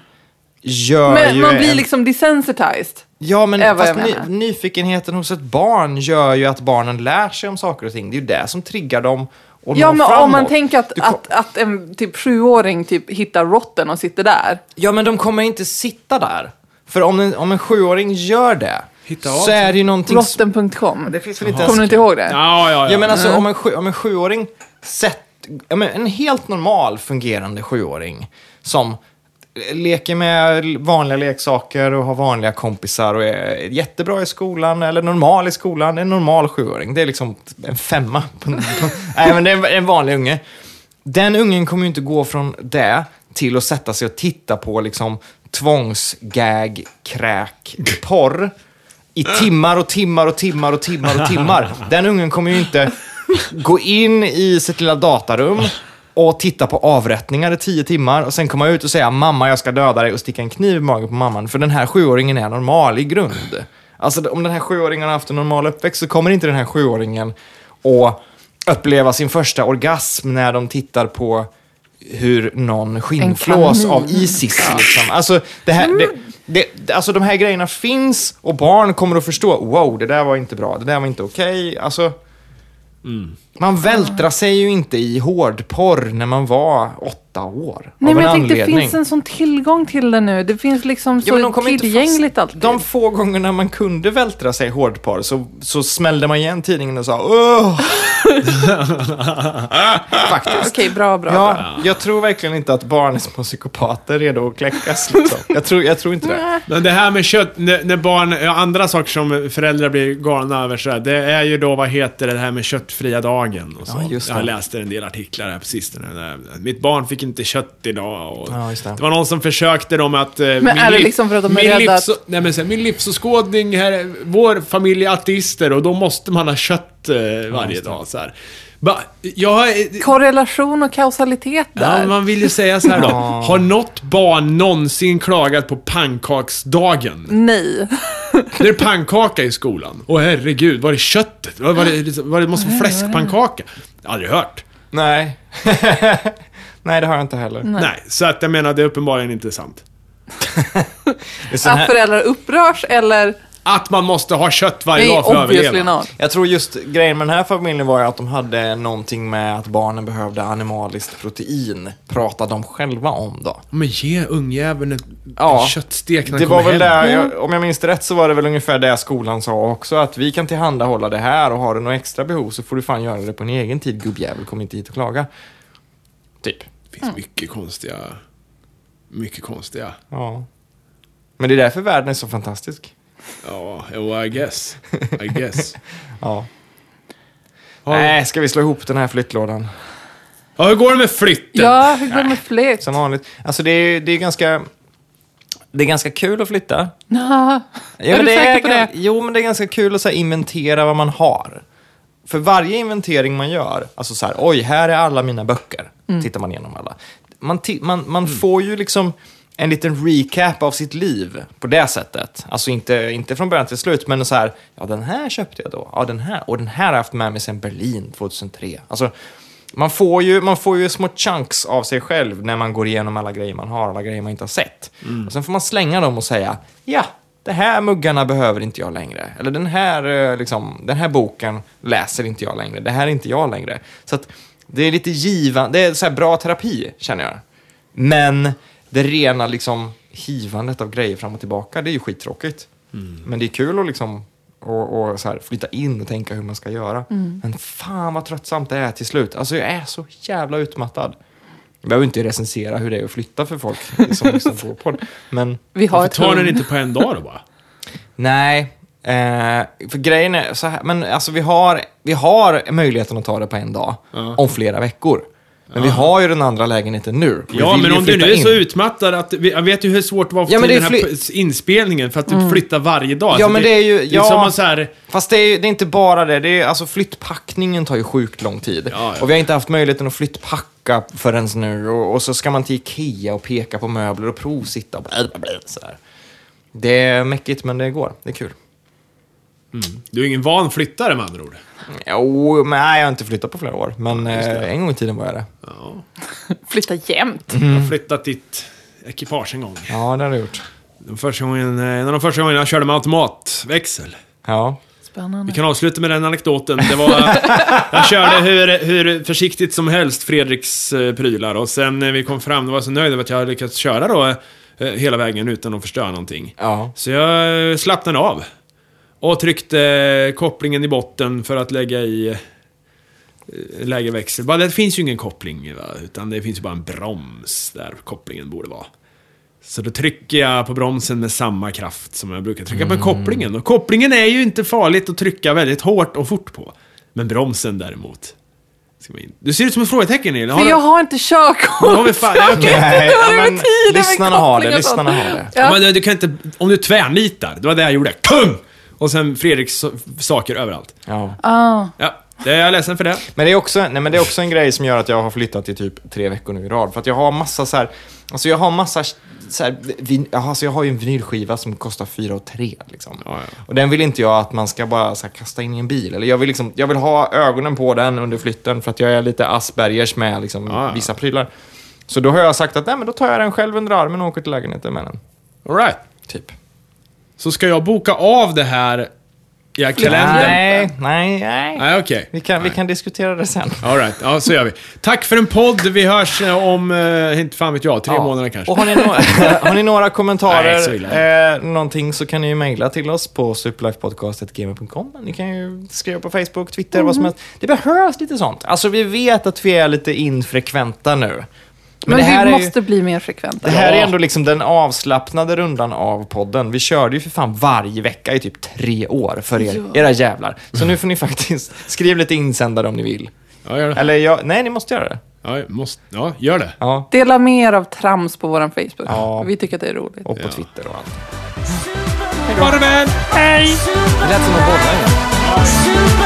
gör men ju... man blir en- liksom desensitized. Ja, men Det är vad fast jag ny, menar. nyfikenheten hos ett barn gör ju att barnen lär sig om saker och ting. Det är ju det som triggar dem och Ja, når men framåt. om man tänker att, Du kom- att, att en typ sjuåring typ hittar rotten och sitter där. Ja, men de kommer inte sitta där. För om en, om en sjuåring gör det, Hitta av så sig. är det ju någonting... Rotten.com. Det finns väl inte ens- Kommer du inte ihåg det? Ja, ja, Mm. ja. Ja, men alltså om en, sju, om en sjuåring sett, ja, men en helt normal fungerande sjuåring som leker med vanliga leksaker och har vanliga kompisar och är jättebra i skolan eller normal i skolan. En normal sjuåring, det är liksom en femma. På, på, nej, men det är en- en vanlig unge. Den ungen kommer ju inte gå från det till att sätta sig och titta på liksom tvångsgag, kräk, porr i timmar och timmar och timmar och timmar och timmar. Den ungen kommer ju inte gå in i sitt lilla datarum och titta på avrättningar i tio timmar och sen komma ut och säga mamma jag ska döda dig och sticka en kniv i magen på mamman. För den här sjuåringen är normal i grund. Alltså om den här sjuåringen har haft en normal uppväxt så kommer inte den här sjuåringen att uppleva sin första orgasm när de tittar på hur någon skinnflås kanin. av Isis. Liksom. Alltså, det här, Mm. det, det, det- alltså de här grejerna finns och barn kommer att förstå. Wow, det där var inte bra. Det där var inte okej. Alltså, Mm. man vältrar sig ju inte i hårdporr när man var åtta år. Nej, av men en jag tänkte det anledning. finns en sån tillgång till det nu. Det finns liksom Jo, men de så kommer inte tillgängligt fast- alltid. De få gångerna man kunde vältra sig i hårdporr så, så smällde man igen tidningen och sa åh. Faktiskt. Okej, bra, bra. bra. Ja, jag tror verkligen inte att barn är små psykopater redo att kläckas. Liksom. Jag, tror, jag tror inte det. Men det här med kött, när, när barn, ja, andra saker som föräldrar blir galna över så här, det är ju då, vad heter det, det här med köttfria dagen och så. Ja, just det. Jag läste en del artiklar här på sistone. Där, mitt barn fick inte kött idag och Ja, just det. var någon som försökte dem att... Men är det liksom för att de är min rädda att- livs, nej, men så här, min livsåskådning, här, är- vår familj är ateister och då måste man ha kött eh, varje dag. Så här. Ba, jag, Korrelation och kausalitet där. Ja, man vill ju säga så här då. Ja. Har något barn någonsin klagat på pannkaksdagen? Nej. Det är pannkaka i skolan. Åh herregud, var är köttet? Var, var, det, liksom, var det måste vara fläskpannkaka? Aldrig hört. Nej. Nej, det har jag inte heller. Nej. så att jag menar, det är uppenbarligen inte sant. Det är sån Att här, föräldrar upprörs eller... att man måste ha kött varje Nej, dag för att obviously överleva. not. Jag tror just grejen med den här familjen var ju att de hade någonting med att barnen behövde animaliskt protein. Pratade de själva om då? Men ge ungjäveln ett Ja. en köttstek när Det han var kommer väl hem. det, jag, om jag minns det rätt så var det väl ungefär det skolan sa också, att vi kan tillhandahålla det här och har du några extra behov så får du fan göra det på din egen tid gubbjävel, kom inte hit och klaga. Typ. Det finns mycket konstiga... Mycket konstiga. Ja. Men det är därför världen är så fantastisk. Ja, jo, I guess. I guess. Ja. Ja. Nej, ska vi slå ihop den här flyttlådan? Ja, hur går det med flytten? Ja, hur går det med fläkt? Som vanligt. Alltså det är ju det är ganska... Det är ganska kul att flytta. Nja. Ja, är du men det säker är på gan- det? Jo, men det är ganska kul att så här, inventera vad man har. För varje inventering man gör, alltså så här, oj, här är alla mina böcker. Mm. Tittar man igenom alla. Man, ti- man, man får ju liksom en liten recap av sitt liv på det sättet. Alltså inte, inte från början till slut, men så här, ja den här köpte jag då, ja den här, och den här har jag haft med mig sedan Berlin 2003. Alltså, man får, ju, man får ju små chunks av sig själv när man går igenom alla grejer man har, alla grejer man inte har sett. Och sen får man slänga dem och säga, ja, det här muggarna behöver inte jag längre. Eller den här, eh, liksom, den här boken läser inte jag längre. Det här är inte jag längre. Så att det är lite givande, det är så här bra terapi känner jag. Men det rena liksom hivandet av grejer fram och tillbaka, det är ju skittråkigt. Mm. Men det är kul att liksom och, och så här, flytta in och tänka hur man ska göra. Men fan vad tröttsamt det är till slut. Alltså jag är så jävla utmattad. Jag behöver inte recensera hur det är att flytta för folk som liksom går på det. Men Vi har Varför ett tar ni hund. den inte på en dag då bara? Nej, eh, för grejen är så här, men alltså vi har, vi har möjligheten att ta det på en dag om flera veckor. Men vi har ju den andra lägenheten nu. Vi Ja, vill men ju om du nu flytta är in. så utmattad att... vi- Jag vet ju hur svårt det var att få Ja, men till den det här är p- inspelningen för att du flyttar varje dag. Alltså, Ja, men det är ju- Det är ja. som man så här... Fast det är, ju- det är inte bara det. det är, alltså flyttpackningen tar ju sjukt lång tid. Ja, ja. Och vi har inte haft möjligheten att flyttpacka förrän nu. Och, och så ska man till Ikea och peka på möbler och provsitta och blä, blä, blä, så här. Det är mäckigt, men det går. Det är kul. Du är ingen van flyttare med andra ord. Jo, men nej, jag har inte flyttat på flera år. Men eh, en gång i tiden var jag det. Ja. Flytta jämt. Jag Mm. har flyttat ditt ekipage en gång. Ja, det har jag gjort. Den första gången, eh, en av de första gångerna jag körde med automatväxel. Ja. Spännande. Vi kan avsluta med den anekdoten. Det var, jag körde hur, hur försiktigt som helst Fredriks eh, prylar och sen när vi kom fram då var jag så nöjd över att jag hade lyckats köra då eh, hela vägen utan att förstöra någonting. Ja. Så jag eh, slappnade av. Och tryckte eh, kopplingen i botten för att lägga i eh, lägeväxel. Bara, det finns ju ingen koppling, va? utan det finns ju bara en broms där kopplingen borde vara. Så då trycker jag på bromsen med samma kraft som jag brukar trycka Mm. på kopplingen. Och kopplingen är ju inte farligt att trycka väldigt hårt och fort på. Men bromsen däremot. Ska man in- Du ser ut som ett frågetecken Elin. Har För du- jag har inte körkort. Då har vi fan- Jag kan inte Nej, dra ja, över men tiden med lyssnarna har det, koppling och sånt. lyssnarna har det. Ja. Ja. Men du kan inte, om du tvärnitar, det var det jag gjorde. Kung! Och sen Fredriks so- saker överallt. ja. Ja, det är jag ledsen för det. Men det, är också, nej, men det är också en grej som gör att jag har flyttat i typ tre veckor nu i rad. För att jag har massa så här, alltså jag har massa så här, vin, jag har- alltså jag har ju en vinylskiva som kostar 4 och 3 liksom. Ja, ja. Och den vill inte jag att man ska bara så här, kasta in i en bil. Eller jag vill, liksom, jag vill ha ögonen på den under flytten för att jag är lite Aspergers med liksom, Ja, ja. vissa prylar. Så då har jag sagt att nej men då tar jag den själv under armen och åker till lägenheten med den. Alright. Typ. Så ska jag boka av det här i kalendern? Nej, nej, nej. Nej, okej. Vi, kan, vi kan diskutera det sen. Alright, ja så gör vi. Tack för en podd. Vi hörs eh, om, eh, inte fan vet jag, tre Ja. månader kanske. Och har ni, några, har ni några Nej, så illa. kommentarer, eh, någonting så kan ni ju mejla till oss på superlifepodcast.gmail.com. Ni kan ju skriva på Facebook, Twitter, vad Mhm. som helst. Det behövs lite sånt. Alltså vi vet att vi är lite infrekventa nu. Men, Men det här vi är måste ju... bli mer frekventa. Det här Ja. är ändå liksom den avslappnade rundan av podden. Vi körde ju för fan varje vecka i typ tre år för er, era jävlar. Så nu får ni faktiskt, skriv lite insändare om ni vill. Ja, gör det. Eller jag, nej, ni måste göra det. Ja, måste, ja, gör det. Ja, Dela mer av trams på vår Facebook. Ja. Vi tycker att det är roligt. och på Twitter och allt. Farväl! Det lät som att bolla igen. Super